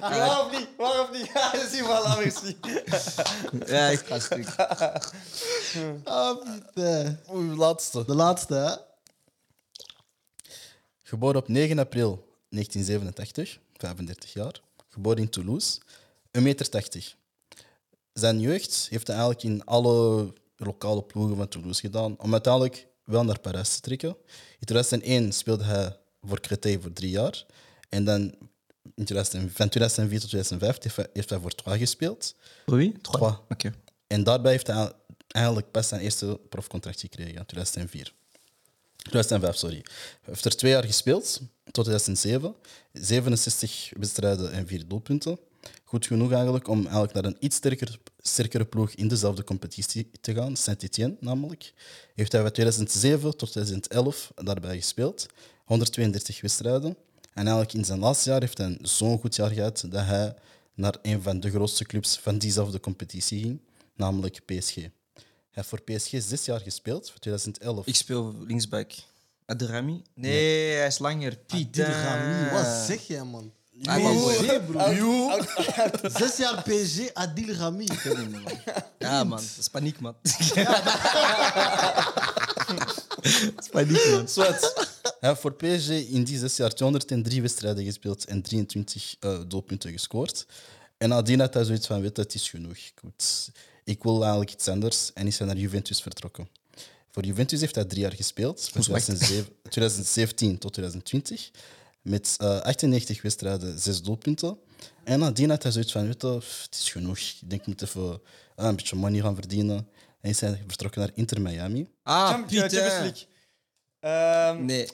Waarom niet? Waarom niet? Ja, dat is hier wel merci. Ja, ik ga stuk. Ah, Piet, eh. Oeh, laatste. De laatste, hè. Geboren op 9 april 1987, 35 jaar. Geboren in Toulouse, 1,80 meter. Zijn jeugd heeft hij eigenlijk in alle lokale ploegen van Toulouse gedaan, om uiteindelijk wel naar Parijs te trekken. In 2001 speelde hij voor Créteil voor drie jaar. En dan in 2000 van 2004 tot 2005 heeft hij, heeft hij voor Troyes gespeeld. Wie? Trois. Oké. En daarbij heeft hij eigenlijk pas zijn eerste profcontract gekregen, in 2004. 2005, sorry. Hij heeft er twee jaar gespeeld, tot 2007. 67 wedstrijden en vier doelpunten. Goed genoeg eigenlijk om eigenlijk naar een iets sterker, sterkere ploeg in dezelfde competitie te gaan, Saint-Étienne namelijk. Heeft hij van 2007 tot 2011 daarbij gespeeld, 132 wedstrijden. En eigenlijk in zijn laatste jaar heeft hij zo'n goed jaar gehad dat hij naar een van de grootste clubs van diezelfde competitie ging, namelijk PSG. Hij heeft voor PSG zes jaar gespeeld, van 2011 Ik speel linksback. Adrami? Nee, hij is langer. Piet. Ah. Dit gaat niet. Wat zeg jij, man? Hij was mooi. PSG, broer. Zes jaar PSG, Adil Rami. Ja, man. Dat is paniek, man. Dat is paniek, man. Zwart. Hij heeft voor PSG in die zes jaar 203 wedstrijden gespeeld en 23 eh, doelpunten gescoord. En nadien had hij zoiets van, weet dat is genoeg. Ik, moet- ik wil eigenlijk iets anders. En is hij naar Juventus vertrokken. Voor Juventus heeft hij drie jaar gespeeld, van 2007 2017 tot 2020. Met eh, 98 wedstrijden, zes doelpunten. En nadien had hij zoiets van, weet je, pff, het is genoeg. Ik denk, ik moet even ah, een beetje money gaan verdienen. En is hij vertrokken naar Inter Miami. Ah, eh, Champions Piet. Champions League. Ehm, Nee.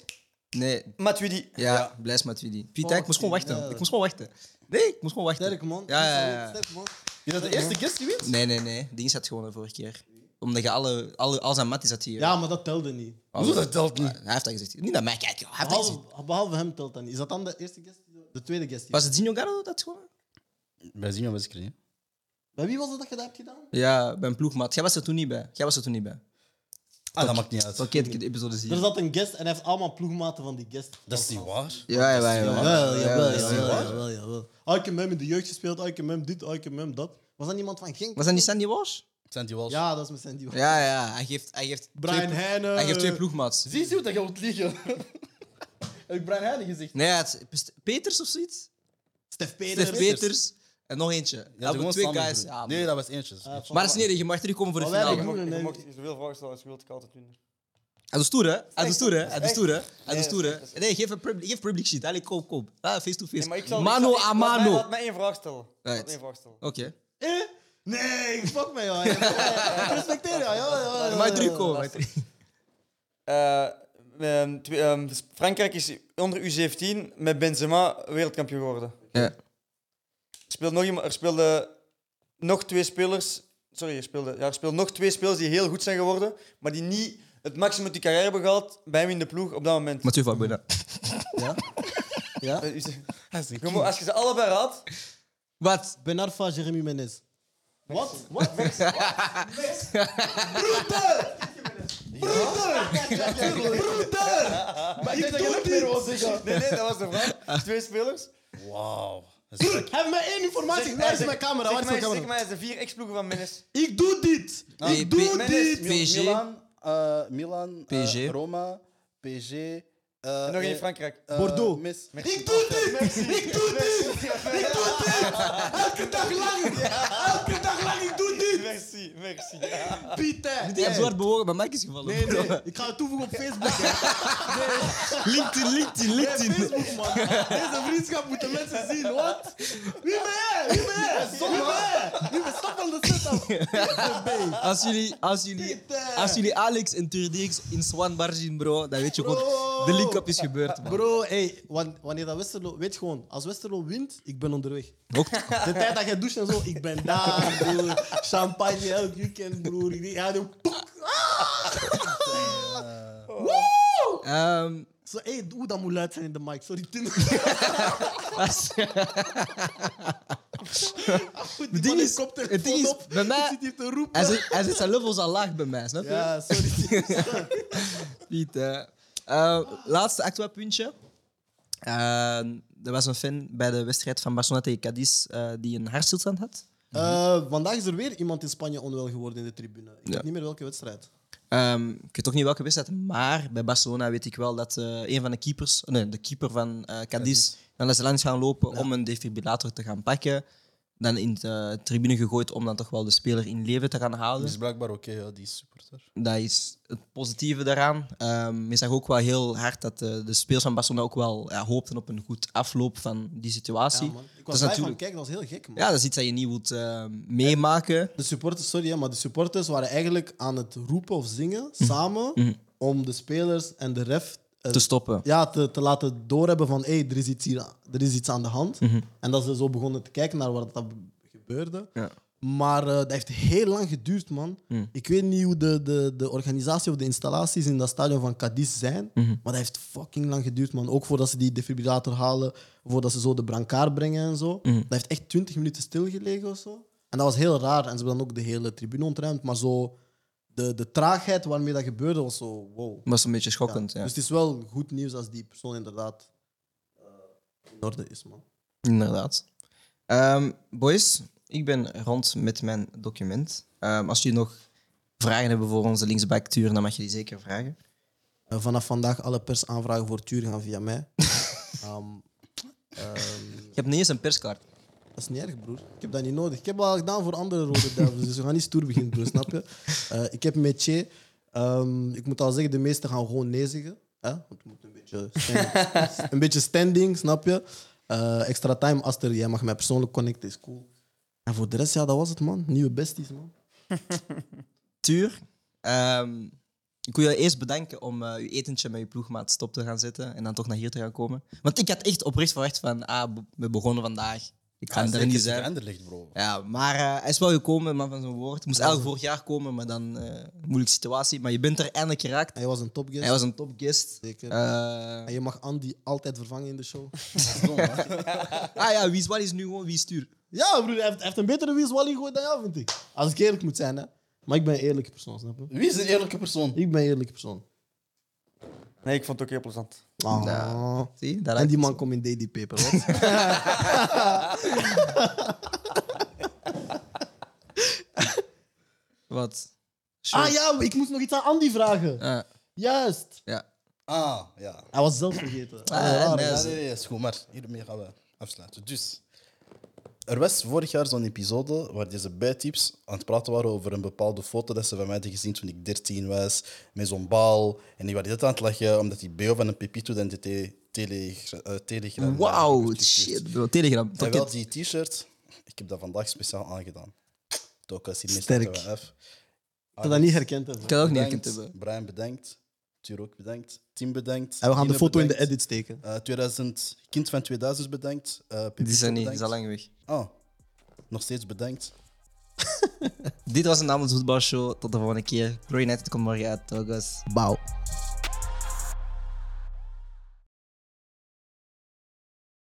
Nee. Matuidi. Ja, blijf met wie die. Piet, eh, ik moest gewoon Fucking wachten. hell. Ik moest gewoon wachten. Nee, ik moest gewoon wachten. Sterk, man. Ja, ja, ja. Sterk, man. Is dat de eerste guest die wint? Nee, nee, nee. Dings had gewoon de vorige keer. Omdat je alle, alle, al zijn matties had hier. Ja, maar dat telde niet. Alles. Hoezo, dat telt niet? Maar Hij heeft dat gezegd. Niet naar mij kijken. joh. Hij heeft dat gezegd. Behalve, behalve hem telt dat niet. Is dat dan de eerste guest? De tweede guest? Was het Zinho Garro dat gewoon? Bij Zinho was ik er niet. Bij wie was het dat je dat hebt gedaan? Ja, mijn ploegmaat. Jij was er toen niet bij. Jij was er toen niet bij. Ah, dat maakt niet uit. Verkeerd dat ik de episode zie. Er zat een guest en hij heeft allemaal ploegmaten van die guest. Dat is niet waar. Ja, ja, ja. Jawel, jawel, is niet jawel, waar. jawel, jawel. Ah, ik heb hem in de jeugd gespeeld, ah, ik heb hem dit, ah, ik heb hem dat. Was dat niemand van Genk? Was dat niet Sandy Walsh? Sandy Walsh. Ja, dat is met Sandy. Ja. Ja, ja. Hij geeft, hij geeft Brian twee, plo- Heijnen. Hij geeft twee ploegmaats. Zie je dat je wilt liegen? Heb ik Brian Heine gezegd? Nee, het is Peters of zoiets? Stef Peters. Stef Peters. En nog eentje. Ja, gewoon twee samen guys. doen. Ja, nee, maar- dat was eentje. Ah, fuck. maar dat is niet erg, je mag terugkomen voor de Oh, wij finale. Je hebben- mocht- je Nee. mocht zoveel vragen stellen als je wilt, ik altijd winnen. Hij doet stoer, hè? Hij doet stoer, hè? Hij doet stoer, hè? Hij doet Nee, stoer, dat hè? is- Nee, geef, een public, geef public shit. Allee, kom, kom. Ah, face to face. Nee, maar ik zal- ik mano zal- a laat mij- mano. Laat mij één vraag stellen. Laat Right. mij één vraag stellen. Oké. Eh? Nee, fuck mij, joh. Ik respecteer jou, joh, joh, joh, Maar Maar joh. terugkomen. maar terug- Eh, ehm, tw- ehm, Frankrijk is onder U17 met Benzema wereldkampioen geworden. Ja. Er speelde nog, iemand- er speelde nog twee spelers. Sorry, er speelden ja, er speelden nog twee spelers die heel goed zijn geworden, maar die niet het maximum uit die carrière hebben gehaald bij hem in de ploeg op dat moment. Mathieu van Buena. Eh, is- Je moet- Als je ze allebei raadt, Wat? Ben Arfa, Jeremy Menez. Wat? Wat? Maar ik doe het niet. Nee, nee, dat was de vraag. Twee spelers. Wauw. Zeg, Heb mij één informatie. Zeg- Waar is zeg- mijn camera? Waar is mijn Zeg mij, zeg camera? mij eens de vier ex-ploegen van Menes. Ik doe dit. Ah, ik doe Mennes, dit. Mil- PSG. Milan, eh, Milan eh, PSG. Roma, PSG. eh, En nog één in eh, Frankrijk. eh, Bordeaux. Mis- Ik doe dit. Ik doe dit. Ik doe dit. Elke dag lang. Elke dag lang. Ik doe dit. Merci, merci. Pieter. Die hey. heeft zwart bewogen bij Mike is gevallen. Nee, bro. nee. Ik ga het toevoegen op Facebook. hè. Nee. LinkedIn, LinkedIn, Nee, LinkedIn. Facebook, man. Deze vriendschap moeten mensen zien. Wat? Wie ben jij? Wie ben jij? Wie ben jij? Wie ben Stop van de set af. BVB. Als jullie, als jullie, eh. als jullie Alex en Turdix in Swan Bar zien, bro, dan weet je gewoon, Bro. de link-up is gebeurd, man. Bro, hey, wan- wanneer dat Westerlo... Weet gewoon, als Westerlo wint, ik ben onderweg. Ook- De tijd dat jij doucht en zo, ik ben daar, broer. Champagne elk weekend, broer. Ik ga doen... poek. Ehm, Zo, hey, hoe dat moet luid zijn in de mic. Sorry, Tim. als- Die ding man is- kopt er het ding vol is, bij mij- Ik zit hier te roepen. hij zit- hij zit zijn levels al laag bij mij, snap je? Ja, sorry, Tim. Niet, hè. Eh, laatste actueel puntje. Eh, er was een fan bij de wedstrijd van Barcelona tegen Cadiz eh, die een hartstilstand had. Eh, vandaag is er weer iemand in Spanje onwel geworden in de tribune. Ik Mhm. Ja. weet niet meer welke wedstrijd. Ehm, ik weet toch niet welke wedstrijd, maar bij Barcelona weet ik wel dat eh, een van de keepers, nee, de keeper van eh Cadiz, dan is langs gaan lopen om een defibrillator te gaan pakken. Dan in de tribune gegooid om dan toch wel de speler in leven te gaan Die houden. is blijkbaar oké, ja, die is supporter. Dat is het positieve daaraan. Ehm je zag ook wel heel hard dat eh, de speels van Barcelona ook wel ja, hoopten op een goed afloop van die situatie. Ja, man. Ik Dat was is blij natuurlijk- van kijken, dat was heel gek, man. Ja, dat is iets dat je niet wilt eh, meemaken. De supporters, sorry, hè, maar de supporters waren eigenlijk aan het roepen of zingen samen om de spelers en de ref eh, Mhm. Te stoppen. ja, te, te laten doorhebben van hey, er, is iets hier, er is iets aan de hand. Mhm. En dat ze zo begonnen te kijken naar waar dat gebeurde. Ja. Maar eh, dat heeft heel lang geduurd, man. Hmm. Ik weet niet hoe de, de, de organisatie of de installaties in dat stadion van Cadiz zijn. Mhm. Maar dat heeft fucking lang geduurd, man. Ook voordat ze die defibrillator halen, voordat ze zo de brancard brengen en zo. Mhm. Dat heeft echt 20 minuten stilgelegen of zo. En dat was heel raar. En ze hebben dan ook de hele tribune ontruimd. Maar zo, de, de traagheid waarmee dat gebeurde was zo, wow. Dat was een beetje Ja. schokkend, ja. Dus het is wel goed nieuws als die persoon inderdaad eh, in orde is, man. Inderdaad. Ehm, boys, ik ben rond met mijn document. Ehm, als jullie nog vragen hebben voor onze linksback Tuur, dan mag je die zeker vragen. Eh, vanaf vandaag alle persaanvragen voor Tuur gaan via mij. Ehm, ehm, Je hebt niet eens een perskaart. dat is niet erg, broer. Ik heb dat niet nodig. Ik heb al gedaan voor andere rode duivels, dus we gaan niet stoer beginnen, broer, snap je? Eh, ik heb Metje. Ehm ik moet al zeggen, de meesten gaan gewoon nee zeggen. Hè? Want we moeten een beetje standing, een beetje standing snap je? Eh, extra time, Aster, jij mag mij persoonlijk connecten, is cool. En voor de rest, ja, dat was het, man. Nieuwe besties, man. Tuur, ehm, ik wil je eerst bedanken om eh, je etentje met je ploegmaat stop te gaan zetten en dan toch naar hier te gaan komen. Want ik had echt oprecht verwacht van, ah, be- we begonnen vandaag. Ik ga er niet zijn. ligt, bro. Ja, maar eh, hij is wel gekomen, maar van zijn woord. Moest elk vorig jaar komen, maar dan eh moeilijke situatie. Maar je bent er eindelijk geraakt. Hij was een topguest. Hij was een topguest. Zeker. Eh, En je mag Andy altijd vervangen in de show. ah ja, wie is wat is nu gewoon wie stuur. Ja, broer, hij heeft, hij heeft een betere Wies Wally gegooid dan jou, vind ik. Als ik eerlijk moet zijn, hè. Maar ik ben een eerlijke persoon, snap je? Wie is een eerlijke persoon? Ik ben een eerlijke persoon. Nee, ik vond het ook heel plezant. Ah. Zie, daar En die man komt in DD Paper, wat? Ah, Wat? ah ja, ik moest nog iets aan Andy vragen. Ah, Juist. ja. Ah, ja. Hij was zelf vergeten. Ah, Ah, raar, nee, hè. Ja, ze- nee, nee, is goed, maar hiermee gaan we afsluiten. Dus, er was vorig jaar zo'n episode waar deze bijtips aan het praten waren over een bepaalde foto dat ze van mij hadden gezien toen ik 13 was, met zo'n bal. En die waren dit aan het lachen omdat die bio van een Pepito en de te- telegra- eh, telegram... Wauw, werd gestuurd. shit, bro. Telegram. En wel Pakket. die t-shirt, ik heb dat vandaag speciaal aangedaan. Tokas, hiermee Sterk. starten we af. Ik had dat niet herkend. hè. Ik had dat ook niet Bedankt, herkend hebben. Brian bedankt. Tuur ook bedankt. Team bedankt. En we gaan de Ine foto in de bedankt. edit steken. Eh, 2000, kind van 2000 bedankt. Eh, Pepito Die zijn niet, die is al bedankt. lang weg. Oh, nog steeds bedankt. Dit was een namens voetbalshow. Tot de volgende keer. Pro United komt morgen uit, Togos. Bouw.